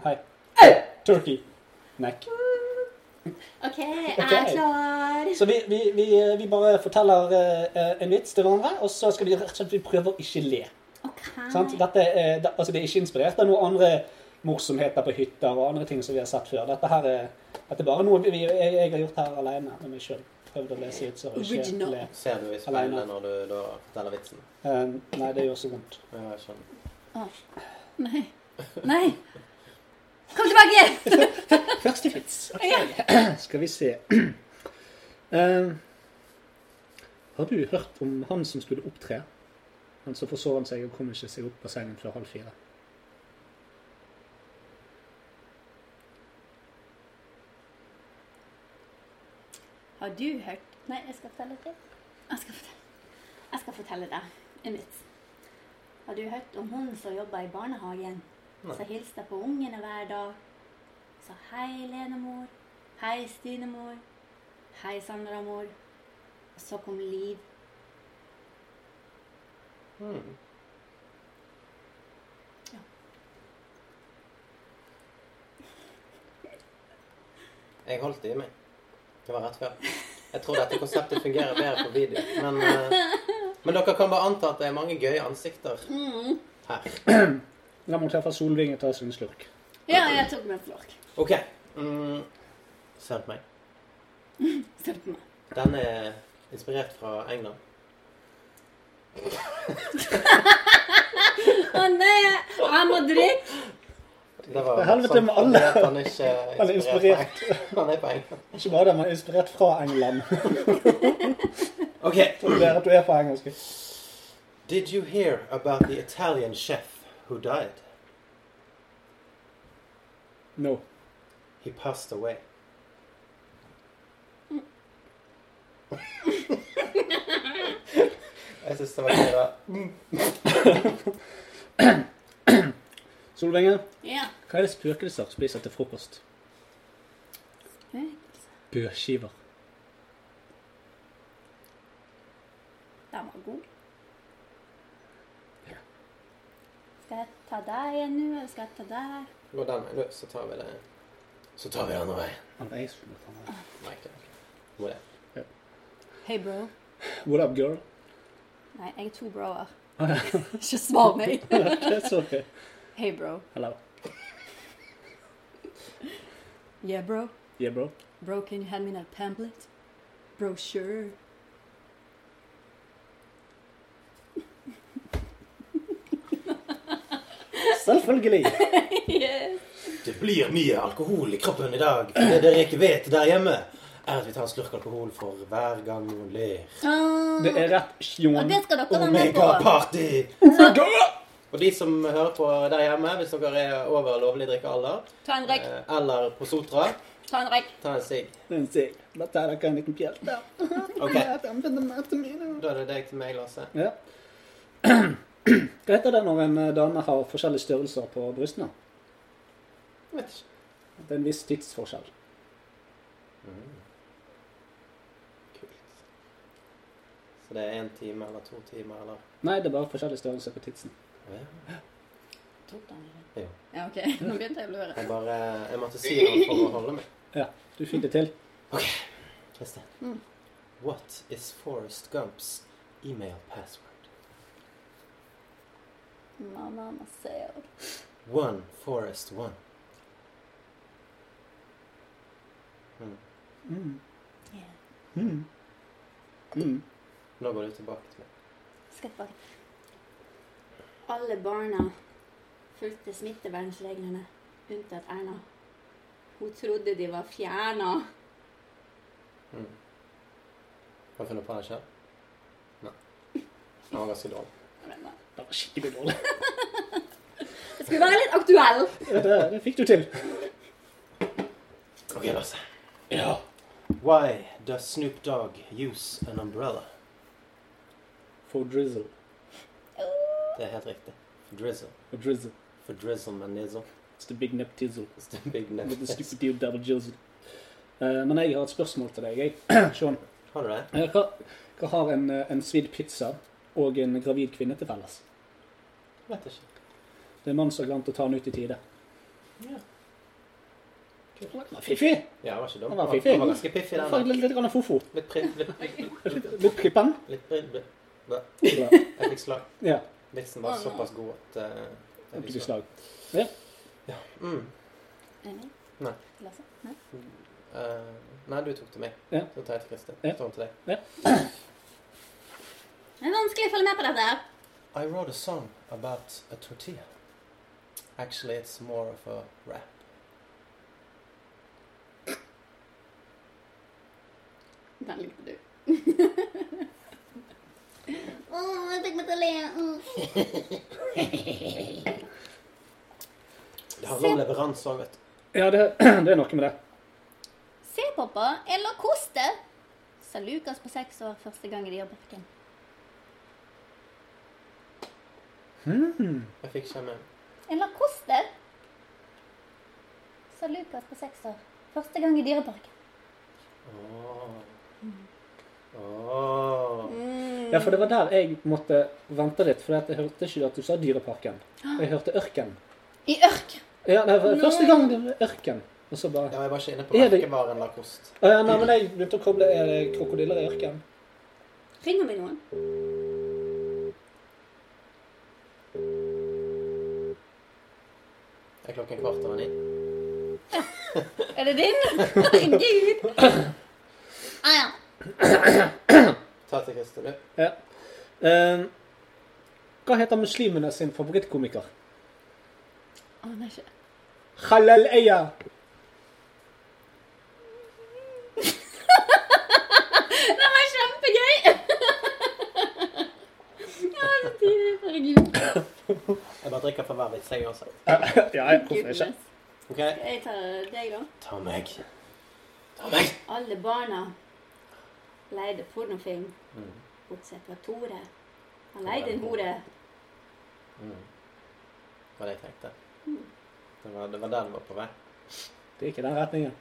S2: Hei. Turkey. Neck.
S5: OK, jeg er klar.
S2: Så vi, vi, vi, vi bare forteller eh, en vits til hverandre, og så skal vi rett og slett vi prøver å ikke le. Sant?
S5: OK.
S2: Dette, er- da- altså, det er ikke inspirert av noen andre morsomheter på hytter og andre ting som vi har sett før. Dette, her er, dette er bare noe vi, jeg, jeg har gjort her alene med meg sjøl. Prøvd å lese ut så jeg ikke
S5: Original.
S2: le.
S4: Ser du i
S2: Alene.
S4: speilet når du da forteller vitsen?
S2: Um, nei, det gjør så vondt.
S4: Ja, jeg skjønner.
S5: Nei. Nei. Kom tilbake!
S2: Første vits. Skal vi se. Um, har du hørt om han som skulle opptre, men så forsov han seg og kom ikke seg opp av sengen før halv fire?
S5: Har du hørt Nei, jeg skal fortelle det. Jeg skal fortelle, jeg skal fortelle deg en vits. Har du hørt om hun som jobba i barnehagen? Som hilste på ungene hver dag. Sa hei, Lene-mor. Hei, Stine-mor. Hei, Sandra-mor. Og så kom Liv.
S4: Jeg holdt det i meg. Det var rett før. Jeg tror dette konseptet fungerer bedre på video. Men, eh, men dere kan bare anta at det er mange gøye ansikter her.
S2: La meg treffe Solvinge ta sin slurk.
S5: Ja, jeg tok meg en flork.
S4: OK. Mm, Ser du på meg?
S5: Ser du på meg?
S4: Den er inspirert fra England.
S5: Å nei, jeg må drikke!
S4: Det var
S2: Helvete med alle.
S4: fordi at Han er ikke
S2: Han er
S4: inspirert. fra England. Han er på England.
S2: Ikke bare det, men inspirert fra England.
S4: OK.
S2: Det er at du er fra engelsk.
S4: Did you hear about the Italian chef who died?
S2: No.
S4: He passed away. Jeg syns det var gøy. da.
S2: Solvenge,
S5: Ja.
S2: hva er det spøkelser spiser til frokost? Bøskiver.
S5: Den var god. Skal jeg ta deg igjen nå, eller skal jeg ta deg?
S4: Gå den veien, du, så tar vi det Så tar vi den andre veien.
S2: Han er som at han er.
S4: Nei, ikke det. Må det.
S5: Hey, bro.
S2: What up, girl?
S5: Nei, jeg er to broer. Ikke svar meg.
S2: That's okay.
S5: Hey, bro.
S2: Hello.
S5: Yeah, bro.
S2: Yeah, bro.
S5: Bro, can you hand me that pamphlet? Bro, sure.
S2: Selvfølgelig.
S4: Det blir mye alkohol i kroppen i dag. For det dere ikke vet der hjemme, er at vi tar en slurk alkohol for hver gang noen ler.
S2: Det er rett
S5: Um, og
S2: sjon.
S5: det skal dere være med på.
S4: Omega-party! Og de som hører på der hjemme, hvis dere er over lovlig drikkealder,
S5: Ta en rekk.
S4: eh, eller på Sotra,
S5: Ta en rekk.
S4: ta en sigg.
S2: Men se, da tar dere en liten pjelt der.
S4: Ok,
S2: Ja, den finner meg til mine.
S4: Da er det deg til meg, Lasse.
S2: Ja. Hva heter det når en eh, dame har forskjellige størrelser på brystene?
S4: Jeg vet ikke.
S2: Det er en viss tidsforskjell.
S4: Kult. Så det er én time eller to timer eller
S2: Nei, det er bare forskjellig størrelse på tidsen.
S4: Ja.
S5: Tok den i
S4: Jo.
S5: rekk. Ja, OK. Nå begynte jeg å lure.
S4: Jeg bare Jeg måtte si noe for å holde meg.
S2: Ja, du fikk det til.
S4: Kristin. What is Forrest Gumps email password?
S5: Mamma Maceo.
S4: One Forrest One. Nå går du tilbake til meg.
S5: Skal tilbake. Alle barna fulgte smittevernreglene, unntatt Erna. Hun trodde de var fjerna.
S4: Har du funnet på det selv? Nei. Den var ganske dårlig.
S2: Det var skikkelig dårlig.
S5: Jeg skulle være litt aktuell.
S2: Ja, det, det fikk du til.
S4: Ok, Lasse. Why does Snoop Dogg use an umbrella?
S2: For drizzle.
S5: Oh.
S4: Det er helt riktig. For drizzle.
S2: For drizzle.
S4: For drizzle med nizzle.
S2: It's the big nip tizzle.
S4: It's the big name.
S2: With the stupid deal double jizzle. Eh, men jeg har et spørsmål til deg, jeg. Sean.
S4: Har du det?
S2: Eh, hva, Hva har en, eh, en svidd pizza og en gravid kvinne til felles?
S4: Vet ikke.
S2: Det er en mann som har glemt å ta den ut i tide.
S4: Ja.
S2: Det var Fiffig!
S4: Ja, det var ikke dumt.
S2: Den var
S4: Den
S2: fiffig.
S4: var ganske piffig,
S2: Jeg
S4: den.
S2: fikk
S4: der.
S2: Litt, litt grann fofo.
S4: Litt pri... Litt,
S2: Litt, litt prippen.
S4: litt pri... bli- bli-
S2: Ja.
S4: Jeg fikk slag.
S2: Ja.
S4: Vitsen var såpass god at eh, jeg
S2: Litt
S4: fikk slag.
S2: slag.
S4: Mm.
S5: Emil?
S4: Nei.
S5: Lasse? Nei?
S4: Eh, nei, du tok til meg.
S2: Ja.
S4: Så tar jeg til Kristin.
S2: Ja.
S4: Så tar hun til deg.
S5: Det er vanskelig å følge med på dette. her.
S4: I wrote a song about a tortilla. Actually, it's more of a rap.
S5: Den likte du. Å, jeg fikk meg til å le. Mm.
S4: Det handler om leveranse òg, vet du.
S2: Ja, det, det er noe med det.
S5: Se, pappa, eller kos det, sa Lukas på seks år første gang de gjør Birken.
S4: Jeg fikk ikke med.
S5: Eller kos det, sa Lukas på seks år første gang i Dyreparken.
S4: Åh.
S2: Mm.
S4: Åh.
S2: Ja, for det var der jeg måtte vente litt, for jeg hørte ikke at du sa Dyreparken. Jeg hørte Ørken.
S5: I ørken.
S2: Ja, det var første gang det var Ørken. Og så bare
S4: Ja, jeg var ikke inne på
S2: Er det-
S4: merkevaren Lacoste.
S2: Å ja, nei, men jeg begynte å koble er det krokodiller i ørken.
S5: Ringer vi noen?
S4: Er klokken kvart over ni?
S5: Er det din? Herregud. Ah, ja.
S4: Ta til Kristin, du.
S2: Ja. Eh, hva heter muslimene sin favorittkomiker?
S5: Aner ikke.
S2: Khalal Eya.
S5: Det var kjempegøy! ja, det sier jeg. Herregud.
S4: Jeg bare drikker for hver vits, jeg uansett.
S2: ja, jeg, hvorfor ikke?
S4: OK?
S5: Jeg tar deg, da.
S4: Ta meg. Ta meg!
S5: Alle barna leide pornofilm, bortsett fra Tore. Han leide en hore.
S4: Det var det jeg tenkte. Det var, det var der den var på vei.
S2: Det er ikke den retningen.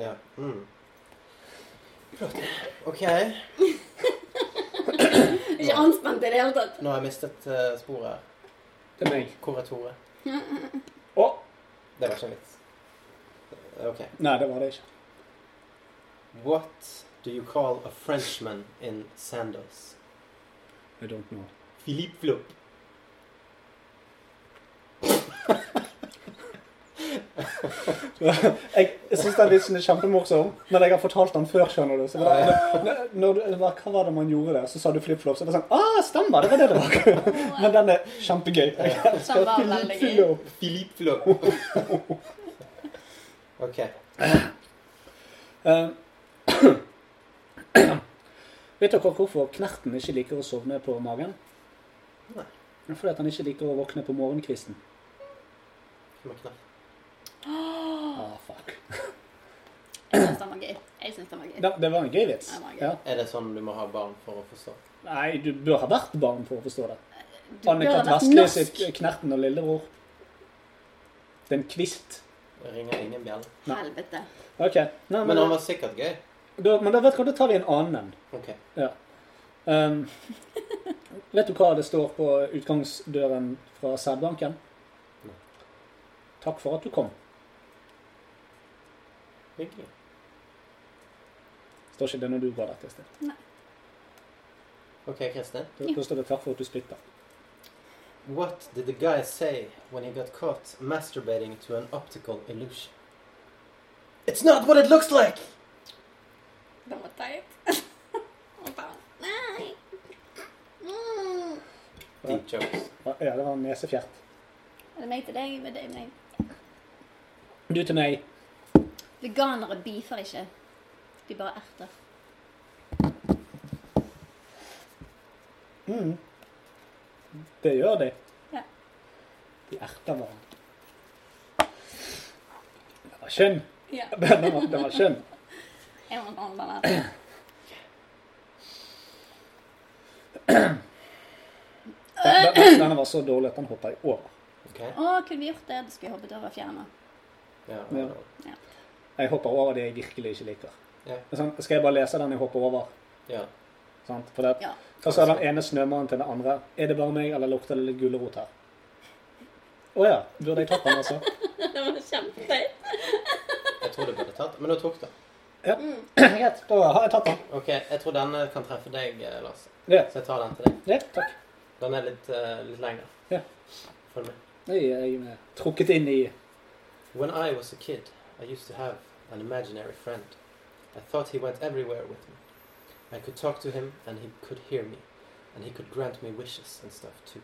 S4: Ja. Mm. Flott. OK.
S5: Ikke anspent i det hele tatt.
S4: Nå har jeg mistet eh, sporet her.
S2: Det er meg.
S4: Hvor er Tore?
S2: Å!
S4: Det var ikke en vits. Eh, OK.
S2: Nei, det var det ikke.
S4: What do you call a Frenchman in sandals?
S2: I don't know.
S4: Philippe Flop.
S2: Jeg, jeg syns den vitsen er kjempemorsom, men jeg har fortalt den før, skjønner du. Så det, når, når, du- hva hva var det man gjorde der? Så sa du flipflop, så det var sånn Ah, stemmer! Det var det det var. Men den er kjempegøy. Jeg
S5: Den var veldig
S2: elsker
S5: gøy.
S2: flop.
S4: Philippe Flop. ok.
S2: Eh, Vet dere hvorfor knerten ikke liker å sovne på magen?
S4: Nei.
S2: Det er Fordi at han ikke liker å våkne på morgenkvisten.
S4: Hvem er knapp?
S2: Ah, fuck.
S5: Jeg syns den var gøy. Jeg synes den var gøy.
S2: Det, det var en gøy vits.
S5: Den var gøy.
S2: Ja.
S4: Er det sånn du må ha barn for å forstå?
S2: Nei, du bør ha vært barn for å forstå det.
S5: Du bør ha
S2: Anne-Kat.
S5: vært
S2: Vestli
S5: norsk.
S2: sitt 'Knerten og lillebror'. Det er en kvist.
S4: Det ringer ingen bjelle.
S5: Helvete.
S2: OK. Nei, men,
S4: Men han var sikkert gøy.
S2: da, men da vet du hva, da tar vi en annen en.
S4: Ok.
S2: Ja. Um, vet du hva det står på utgangsdøren fra sædbanken? Takk for at du kom.
S4: Hyggelig.
S2: Står ikke det når du går der til sted?
S4: Ok, Kristin.
S2: Da, da står det 'takk for at du spytter'.
S4: What did the guy say when he got caught masturbating to an optical illusion? It's not what it looks like!
S5: Den var teit. Å, faen. Nei. Mm.
S4: Deep jokes.
S2: Ja, det var en nesefjert.
S5: Er det meg til deg? Er det meg?
S2: Du til meg.
S5: Veganere beefer ikke. De bare erter.
S2: Det gjør de.
S5: Ja.
S2: De erter hverandre. Det var skjønn.
S5: Ja.
S2: Den var, den var skjønn.
S5: Jeg må ta den der.
S2: Den, den, denne var så dårlig at den hoppa jeg over.
S4: Ok.
S5: Å, kunne vi gjort det? Da skulle jeg hoppet over fjærene.
S4: Ja.
S2: Ja.
S5: Ja.
S2: Jeg hopper over det jeg virkelig ikke liker.
S4: Ja.
S2: Det er Sånn, skal jeg bare lese den jeg hopper over?
S4: ja.
S2: Sant? For det.
S5: Ja.
S2: Og så er den ene snømannen til den andre. Er det bare meg, eller lukter det litt gulrot her? Å ja. Burde jeg tatt den, altså?
S5: Det var kjempefeil.
S4: Jeg tror du burde tatt Men du tok det.
S2: Ja. Greit, da har jeg tatt den.
S4: Ok, jeg tror denne kan treffe deg, eh, Lars.
S2: Ja,
S4: Så jeg tar den til deg.
S2: ja takk.
S4: Den er litt, eh, litt lengre.
S2: Ja.
S4: Følg med.
S2: Jeg er jeg er trukket inn i
S4: When I was a kid, I used to have an imaginary friend. I thought he went everywhere with me. I could talk to him, and he could hear me, and he could grant me wishes and stuff too.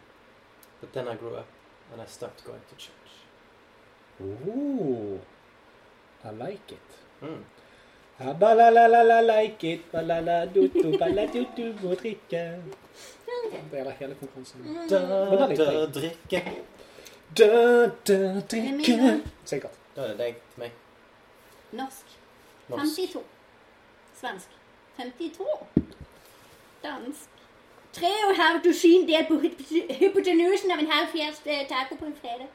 S4: But then I grew up, and I stopped going to church.
S2: oh, I like it.
S4: Mm.
S2: Ah, Balalala like it, balaladutu, baladutu må drikke. Det er da hele konkurransen. Den er
S4: Da,
S2: litt
S4: da, drikke.
S2: Dø, dø,
S5: Det er
S2: drikke.
S5: min,
S2: Sikkert.
S4: Da er det deg til meg.
S5: Norsk.
S4: Lars.
S5: 52. Svensk. 52. Dansk. Tre og en halv dusin del på hyp- hypotenusen av en halv fjerds eh, taco på en fredag.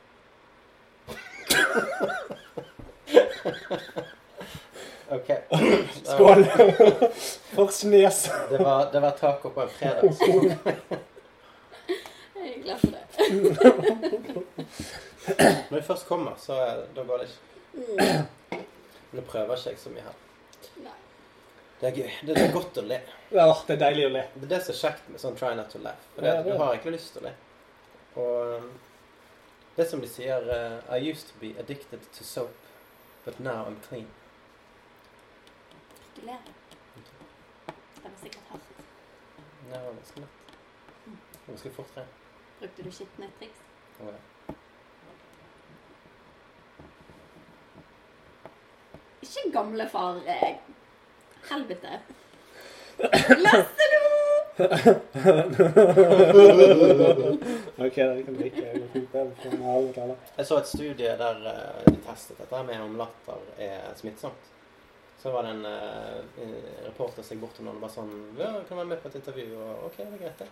S4: Ok,
S2: Skål. For snes.
S4: det var, det var taco på en fredag.
S5: Jeg er glad for det.
S4: Når vi først kommer, så eh, da går det ikke.
S5: Mm.
S4: Men det prøver ikke jeg så mye her.
S5: Nei.
S4: Det er gøy. Det det er godt å le.
S2: Ja, det er deilig å le.
S4: Det er det som er kjekt med sånn try not to laugh. For det,
S2: Ja,
S4: at
S2: det
S4: du
S2: er
S4: har egentlig lyst til å le. Og um, det som de sier eh, I used to be addicted to soap, but now I'm clean.
S5: Gratulerer. Det var sikkert hardt.
S4: Nå er det ganske lett. Det er Ganske fort, det.
S5: Brukte du skitne triks?
S4: Å, ja.
S5: Ikke gamle far. eh, Helvete. Lasselo!
S2: Ok, det kan drikke. Jeg går fint der, for en halv tale.
S4: Jeg så et studie der eh, de testet dette med om latter er smittsomt. Så var det en eh, en reporter som gikk bort til noen og bare sånn Ja, kan du være med på et intervju? Og OK, det er greit, det.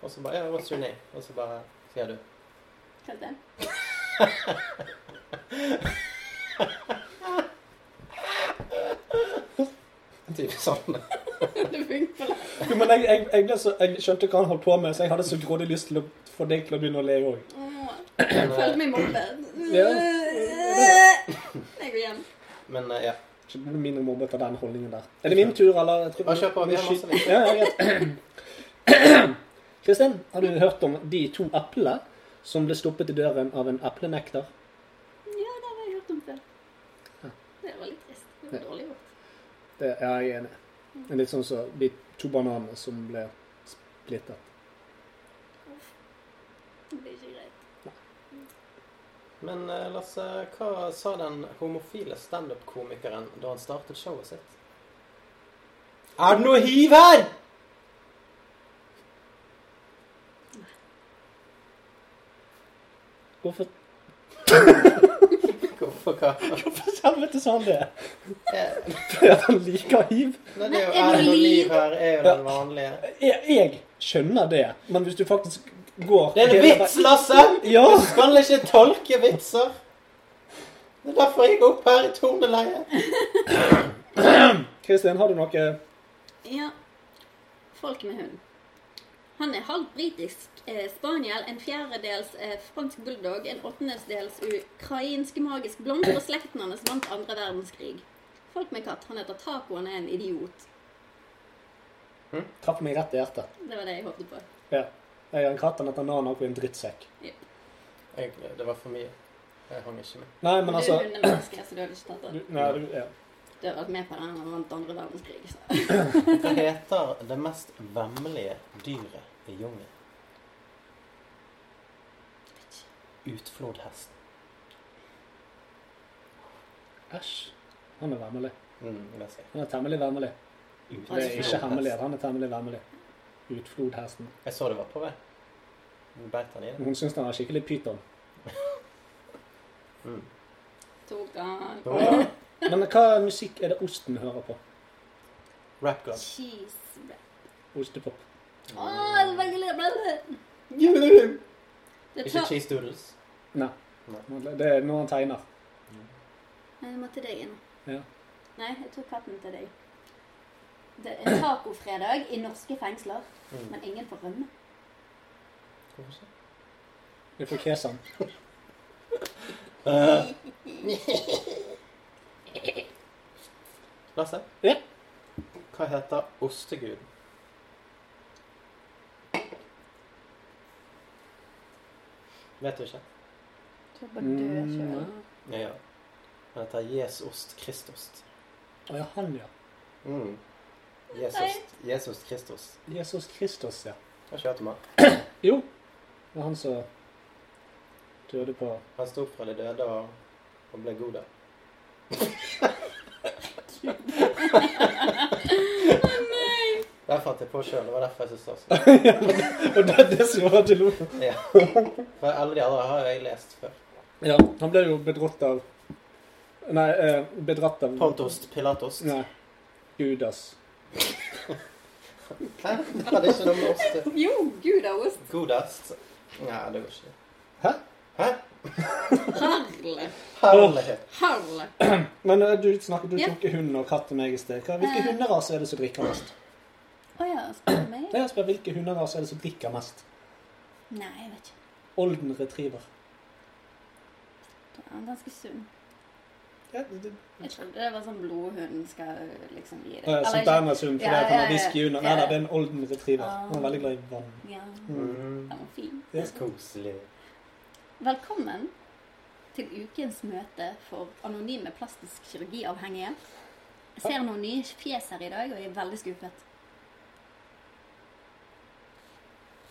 S4: Og så bare Ja, what's your name? Og så bare sier du
S5: Hva er det?
S4: typ sånn.
S5: Det funker.
S2: Jo, men jeg, jeg, jeg, ble så, jeg skjønte hva han holdt på med, så jeg hadde så grådig lyst til å få deg til å begynne å le òg.
S5: Åh,
S4: Men, eh,
S5: Følte meg mobbet.
S2: Ja.
S5: Jeg går hjem.
S4: Men eh, ja.
S2: Mindre mobbet av den holdningen der. Er det min tur, eller? Jeg tror-
S4: Bare kjør på, vi har masse litt.
S2: Ja, ja, greit. Kristin, har du hørt om de to eplene som ble stoppet i døren av en eplenekter?
S5: Ja, det har jeg hørt om før. Det var litt trist. Det var dårlig gjort.
S2: Det er jeg enig i. Det er Litt sånn som de to bananene som ble splittet.
S5: Det blir ikke greit.
S4: Men eh, Lasse, hva sa den homofile standup-komikeren da han startet showet sitt? Er det noe hiv her?!
S2: Hvorfor
S4: Hvorfor hva?
S2: hvorfor helvete sa han sånn det?
S4: Eh,
S2: Fordi at han liker hiv?
S4: Nei, det er jo
S5: Er det
S4: Er det noe
S5: noe
S4: liv her? er jo den vanlige.
S2: Jeg, jeg skjønner det, men hvis du faktisk går
S4: Det er en
S2: hele
S4: vits, Lasse!
S2: veien- Ja!
S4: Du skal ikke tolke vitser! Det er derfor jeg er oppe her i torneleiet.
S2: Kristin, har du noe
S5: Ja. Folk med hund. Han er halvt britisk eh, spaniel, en fjerdedels eh, fransk bulldog, en åttendedels ukrainsk magisk blomst, og slekten hans vant andre verdenskrig. Folk med katt. Han heter Taco, han er en idiot.
S2: Traff meg rett i hjertet.
S5: Det var det jeg håpet på.
S2: Ja. Jeg har en katt, han heter Nana og er en drittsekk.
S4: Jeg, det var for mye. Jeg hang ikke med.
S2: Nei, men
S5: du
S2: altså
S5: er hundemenneske, så du hadde ikke tatt
S2: du,
S5: det.
S2: nei, du, ja.
S5: Du har vært med på den han vant andre verdenskrig. Så.
S4: Hva heter det mest vemmelige dyret i jungelen? Utflodhesten.
S2: Æsj. Han er vemmelig.
S4: Mm, det skal jeg.
S2: Han er temmelig vemmelig. Det er Altså, ikke
S4: Utflodhest.
S2: hemmelig at han er temmelig vemmelig. Utflodhesten.
S4: Jeg så det var på vei. Du Beit han i det?
S2: Hun syns han er skikkelig pyton.
S5: Tok han
S4: Oh.
S2: Men hva musikk er det osten hører på?
S4: Rap god.
S5: cheese wrap.
S2: Ostepop.
S5: Å, det var veldig lurt. Det
S4: Ikke
S5: tar
S4: cheese doodles.
S2: Nei. Det er når han tegner.
S5: Nei, jeg må til deg inn.
S2: Ja.
S5: Nei, jeg tok katten til deg. Det er tacofredag i norske fengsler,
S4: Mm.
S5: men ingen får rømme.
S2: Det får Kesan.
S4: Lasse,
S2: Ja.
S4: hva heter osteguden? Vet du ikke?
S5: Tror bare dør
S2: Mm.
S5: sjøl.
S4: Ja, ja. Han heter Jesost Kristost.
S2: Å ja, han ja.
S4: Mm. Jesost, Jesus Kristus.
S2: Jesus Kristus, ja.
S4: Har ikke hørt om han.
S2: Jo. Det var han som døde på
S4: Han sto opp fra de døde og, og ble god. da. Det fant jeg på sjøl. Det var derfor jeg syntes det var så
S2: Og det er det som var til nå.
S4: Ja. For alle de andre har jo jeg lest før.
S2: Ja, han ble jo bedrått av Nei, eh, bedratt av
S4: Pontost, pilatost.
S2: Nei. Judas.
S4: Hæ? Det er ikke noe med ost.
S5: Jo, gud av ost.
S4: Godest. Nei, det går ikke.
S2: Hæ?
S4: Hæ?
S5: Harle.
S4: Herlighet.
S5: Harle.
S2: Men eh, du snakket, du
S5: Ja. Eh.
S2: tok hund og katt med meg i sted. Hva- Hvilke hunderaser er det som drikker mest?
S5: Å ja, spør du meg?
S2: Nei, jeg spør, Hvilke hunderaser er det som drikker mest?
S5: Nei, jeg vet ikke.
S2: Olden retriever.
S5: Han er ganske sunn.
S2: Ja, det, det.
S5: Jeg trodde det var sånn blodhunden skal liksom gi det.
S2: Eh,
S5: Eller
S2: Som
S5: ikke-
S2: Bernhardshund, fordi
S5: Ja,
S2: at han
S5: ja,
S2: har
S5: ja.
S2: whisky under. Nei,
S5: Ja.
S2: nei, det er en olden retriever.
S5: Ah.
S2: Han er veldig glad i vann.
S5: Ja,
S4: Mm.
S5: den var fin.
S2: Ja.
S4: Koselig.
S5: Velkommen til ukens møte for anonyme plastisk kirurgiavhengige. Jeg ser noen nye fjes her i dag, og jeg er veldig skuffet.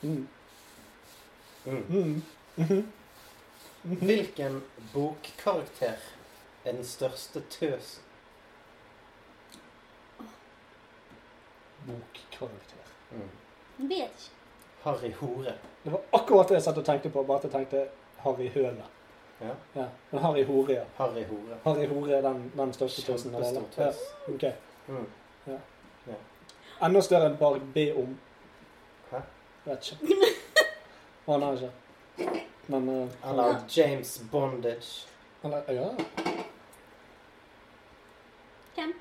S2: Mm.
S4: Mm. Mm-hmm.
S2: Mm.
S4: Hvilken bokkarakter er den største tøsen?
S2: Bokkarakter.
S4: Mm.
S5: Jeg vet ikke.
S4: Harry Hore.
S2: Det var akkurat det jeg satt og tenkte på, bare at jeg tenkte Harry Høne.
S4: Ja.
S2: Ja. Men Harry Hore, ja.
S4: Harry Hore.
S2: Harry Hore er den, den største tøsen av alle.
S4: Kjempestor tøs.
S2: Ja. ok.
S4: Mm.
S2: Enda større enn bare be om.
S4: Hæ?
S2: Vet ikke. Han er ikke. Men eh, han
S4: Eller James Bondage.
S2: han er, Ja.
S5: Hvem?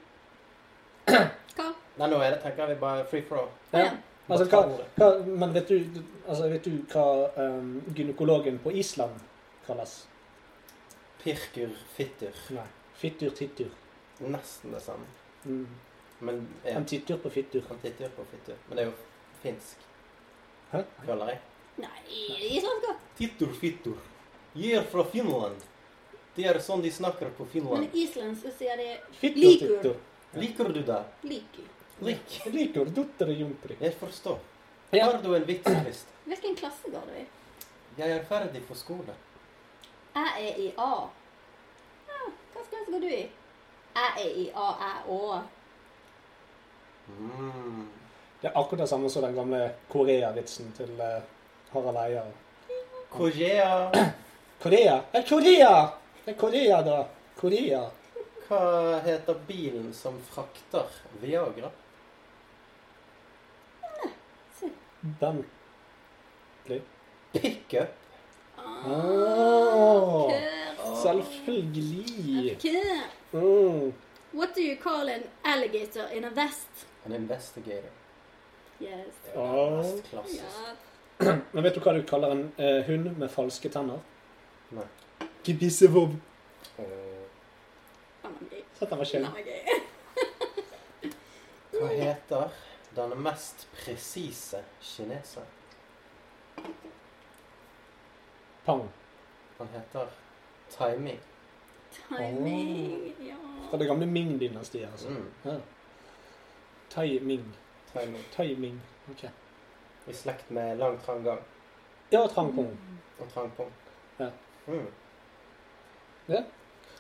S5: Hva?
S4: Nei, nå er det, tenker jeg, vi bare free for all.
S5: Å
S2: ja.
S5: ja.
S2: Altså, hva, hva, men vet du, altså, vet du hva em, gynekologen på Island kalles?
S4: Pirkur Fittur.
S2: Nei. Fittur tittur.
S4: Nesten det samme.
S2: Mm.
S4: Men ja,
S2: En tittur på fittur.
S4: han tittur på fittur. Men det er jo finsk,
S2: Hæ?
S4: føler jeg.
S5: Nei, islandsk òg.
S4: Tittur fittur. Jeg er fra Finland. Det er sånn de snakker på
S5: Men
S4: Finland.
S5: i islandsk så sier de
S2: Fittur
S5: likur.
S2: tittur.
S4: Liker du det?
S5: Likur.
S4: Lik.
S2: Likur dotter og jomfru.
S4: Jeg forstår.
S2: Ja.
S4: Har du en vits, Christ?
S5: Hvilken klasse går du i?
S4: Jeg er ferdig på skolen.
S5: Jeg er i A. Ja, hvilken klasse går du i? Jeg er i A, jeg òg.
S4: Mm.
S2: Det er akkurat det samme som den gamle Korea-vitsen til eh, Harald Eia.
S4: Korea.
S2: Korea? Er Korea! Det er Korea, da. Korea.
S4: Hva heter bilen som frakter Viagra?
S2: Bentley.
S4: Pickup.
S2: Oh,
S5: Kør.
S2: selvfølgelig.
S5: Kør.
S2: Mm.
S5: What do you call an alligator in a vest?
S4: En investigator.
S5: Yes.
S4: Det er
S2: Ah.
S4: jo mest klassisk.
S5: Ja.
S2: Men vet du hva du kaller en eh, hund med falske tenner?
S4: Nei.
S2: Gebissebob.
S4: Eh,
S5: Den var gøy.
S2: Sett den var
S5: Den
S2: skjønn.
S5: var gøy.
S4: Hva heter den mest presise kineser?
S2: Pang.
S4: Han heter Timing.
S5: Timing. Ja.
S2: Fra det gamle Ming-dynastiet, altså.
S4: Mm.
S2: Ja. Tai Ming.
S4: Timing.
S2: Tai Ming. Ok.
S4: I slekt med lang trang gang
S2: Ja, Trangpong.
S4: og trang pung.
S2: Ja.
S4: Mm.
S2: Ja.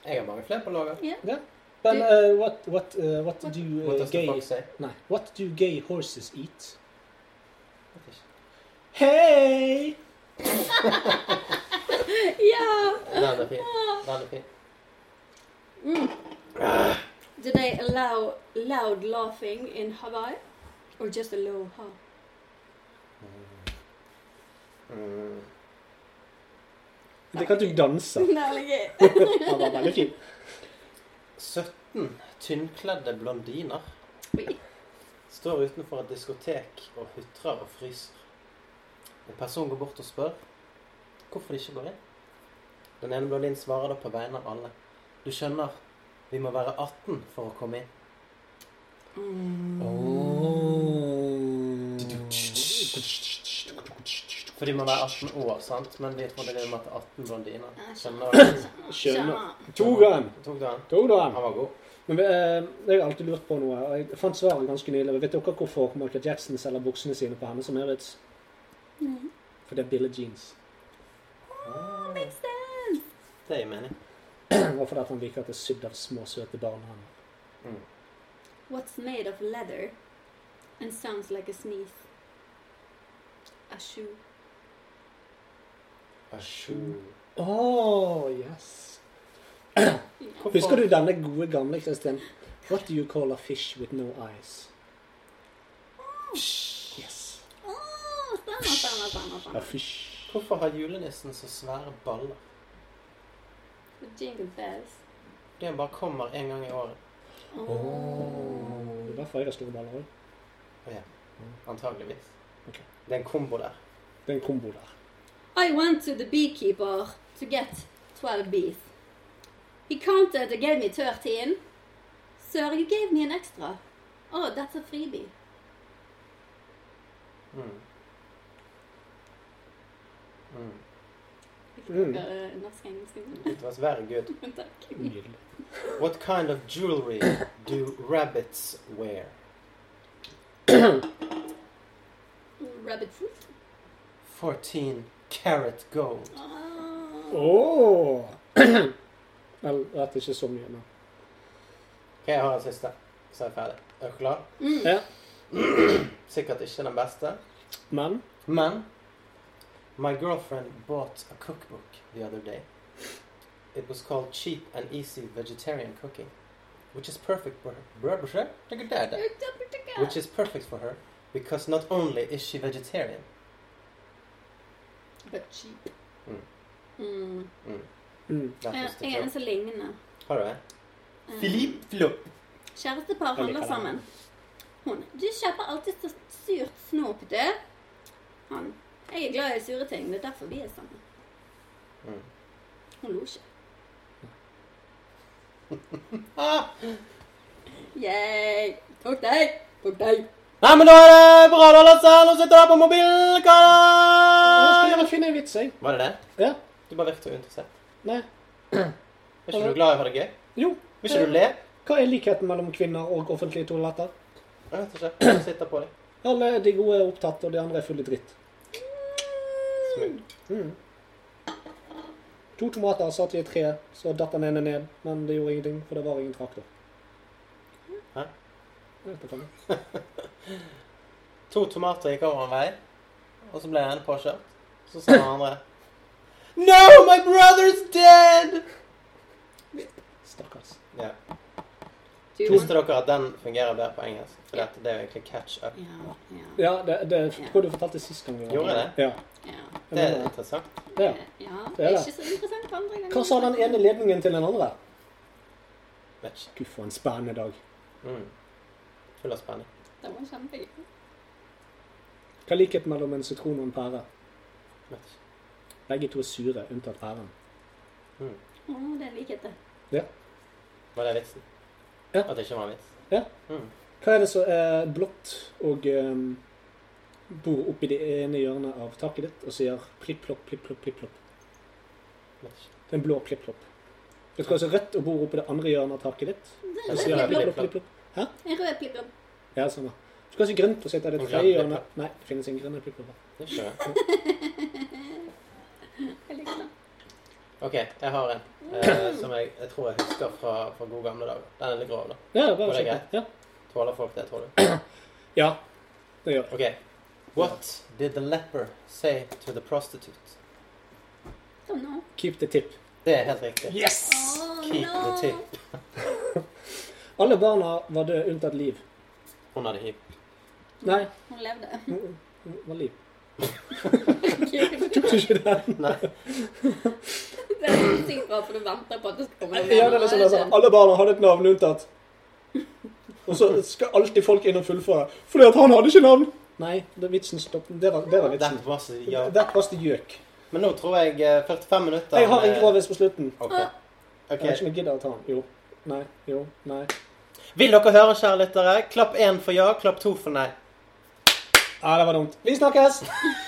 S4: Jeg har mange flere på laget.
S2: Men eh, what, what, eh, what do
S4: What
S2: uh,
S4: does the
S2: gay
S4: fuck say?
S2: Nei. What do gay horses eat?
S4: Vet ikke.
S2: Hei!
S5: ja.
S4: Den er fin. Den er fin.
S5: Do they allow loud laughing in Hawaii? Or just a low ha?
S4: Mm.
S2: Det kan du danse.
S5: Den er veldig gøy.
S2: Han var veldig fin.
S4: 17 tynnkledde blondiner
S5: Oi.
S4: Står utenfor et diskotek og hutrer og fryser. En person går bort og spør hvorfor de ikke går inn. Den ene Berlin svarer da på vegne av alle. Du skjønner, vi må være 18 for å komme inn. For de må være 18 år, sant? Men vi trodde det var 18 blondiner.
S5: Ah,
S4: Skjønner du?
S2: Skjønner. Tok han!
S4: Tok du han?
S2: Tok du han?
S4: Han var god.
S2: Men eh, jeg har alltid lurt på noe. og Jeg fant svaret ganske nylig. men Vet dere hvorfor Michael Jackson selger buksene sine på Hennes og Maurits? For det er Billie Jeans.
S5: Makes sense.
S4: Det gir mening.
S2: Og fordi at han liker at det er sydd av små, søte barn. Han.
S5: What's made of leather and sounds like a sneeze? A shoe.
S4: Asju.
S2: Oh, yes. Husker du denne gode, gamle eksisten? What do you call a fish with no eyes? Yes.
S5: Åh, stemmer, stemmer, stemmer.
S2: A
S5: stemmer.
S2: fish.
S4: Hvorfor har julenissen så svære baller?
S5: Jingle bells.
S4: Det bare kommer en gang i året.
S2: Det er derfor jeg har store baller òg.
S4: Antageligvis.
S2: Ok.
S4: Det er en kombo der.
S2: Det er en kombo der.
S5: I went to the beekeeper to get 12 bees. He counted and gave me 13. Sir, you gave me an extra. Oh, that's a freebie.
S4: Mm. Mm.
S2: Mm.
S5: Eh, Norsk-engelsk.
S4: It was very good.
S5: Takk.
S2: Nydelig.
S4: What kind of jewelry do rabbits wear?
S5: Rabbit food.
S4: 14 karat gold.
S5: Ah.
S4: Oh.
S2: Åh! Vel, det er ikke så mye nå.
S4: Ok, jeg har en siste. Så er jeg ferdig. Er du klar?
S5: Mm.
S2: Ja.
S4: Sikkert ikke den beste.
S2: Men
S4: Men my girlfriend bought a cookbook the other day. It was called Cheap and Easy Vegetarian Cooking, which is perfect for her. Which is perfect for her because not only is she vegetarian,
S5: But cheap.
S4: Mm.
S5: Mm.
S2: mm.
S4: that
S5: Ja,
S4: was the
S5: Jeg er en
S4: joke.
S5: som ligner.
S4: Har du det?
S5: Eh,
S4: Filip Flopp.
S5: Kjærestepar
S2: Jeg liker
S5: handler
S2: det.
S5: sammen. Hun. Du kjøper alltid så surt snop, du. Han. Jeg er glad i sure ting. Det er derfor vi er sammen.
S4: Mm.
S5: Hun lo ikke.
S4: Ah!
S5: Yay. Tok deg. Tok deg.
S4: Nei, men da er det bra, da, Lasse. Nå sitter du på mobilen.
S2: Jeg
S4: Hva
S2: skal gjerne finne en vits, jeg.
S4: Var det det?
S2: Ja.
S4: Du bare virket uinteressert.
S2: Nei.
S4: Er ikke du glad i å ha det gøy?
S2: Jo.
S4: Vil ikke du le?
S2: Hva er likheten mellom kvinner og offentlige toaletter?
S4: Jeg vet ikke. Jeg sitter på deg.
S2: Alle de gode er opptatt, og de andre er fulle av dritt.
S4: Smug.
S2: Mm. To tomater satt i et tre, så datt den ene ned. Men det gjorde ingenting, for det var ingen traktor.
S4: Hæ?
S2: Jeg vet ikke hva det er.
S4: To tomater gikk over en vei, og så ble den ene påkjørt. Så sa den andre No, my brother's dead!
S2: Stakkars.
S4: Ja.
S5: Du,
S4: Visste dere at den fungerer bedre på engelsk? For dette, det er jo egentlig catch up.
S5: Ja, ja,
S2: Ja, det, det tror jeg du fortalte sist gang. vi var
S4: Gjorde
S2: her. Ja.
S5: ja.
S4: Det er interessant.
S2: ja.
S5: ja.
S2: Det er det.
S5: Ikke så interessant andre ganger.
S2: Hva sa den ene ledningen til den andre?
S4: Vet ikke.
S2: Gud, for en spennende dag.
S4: Mm. Full av spenning.
S5: Det var kjempegøy.
S2: Hva er likheten mellom en sitron og en pære?
S4: Vet ikke.
S2: Begge to er sure, unntatt pæren.
S5: Å, det er likhet, det.
S4: Var det vitsen?
S2: Ja.
S4: At det ikke var en vits?
S2: Hva er det som er blått og ehm, bor oppi det ene hjørnet av taket ditt og sier plipp-plopp, plipp-plopp, plipp-plopp?
S4: Vet ikke.
S2: Det er en blå plipp-plopp. Vet du hva som er rødt og bor oppi det andre hjørnet av taket ditt?
S5: Det
S2: Og
S5: er
S2: sier
S5: en rød
S2: plipp-plopp,
S5: plopp.
S2: plipp-plopp.
S5: En rød plipp-plopp.
S2: Ja, samme. Vet du hva som er grønt og sitter i det
S4: Og
S2: tredje
S4: grønn
S2: hjørnet? Nei, det finnes ingen grønne plipp-plopper.
S4: Det er ikke det.
S5: Jeg likte den.
S4: Ok, jeg har en eh, som jeg, jeg tror jeg husker fra, fra gode gamle dager. Den er litt grov, da.
S2: Ja, bare
S4: Og det er
S2: sjekk. Ja.
S4: Tåler folk det, tror du?
S2: ja, det gjør det.
S4: Ok. What did the leper say to the prostitute?
S5: Å, no.
S2: Keep the tip.
S4: Det er helt riktig.
S2: Yes!
S5: Å,
S4: Keep the
S5: no.
S4: tip.
S2: Alle barna var døde unntatt Liv.
S4: Hun hadde hiv.
S2: Nei,
S5: Hun levde.
S2: hun hun var Liv.
S5: det
S2: Tok du ikke den?
S5: er sykt bra, for du venter på at det skal komme
S2: altså. sånn. Ja, det er liksom det sånn. Alle barna hadde et navn unntatt Og så skal alltid folk inn og fullføre. Fordi at han hadde ikke navn! Nei, det er vitsen stopp. Der er der er vitsen.
S4: Derfor var så- ja.
S2: Der kaster gjøk.
S4: Men nå tror jeg eh, 45 minutter
S2: Jeg har en
S4: med-
S2: gravis på slutten.
S4: Ok.
S2: Jeg vet ikke
S4: Ok.
S2: om jeg gidder å ta den. Jo. Nei. Jo. Nei.
S4: Vil dere høre, kjære lyttere? Klapp én for ja, klapp to for nei.
S2: Ah, Ja, det var dumt. Vi snakkes!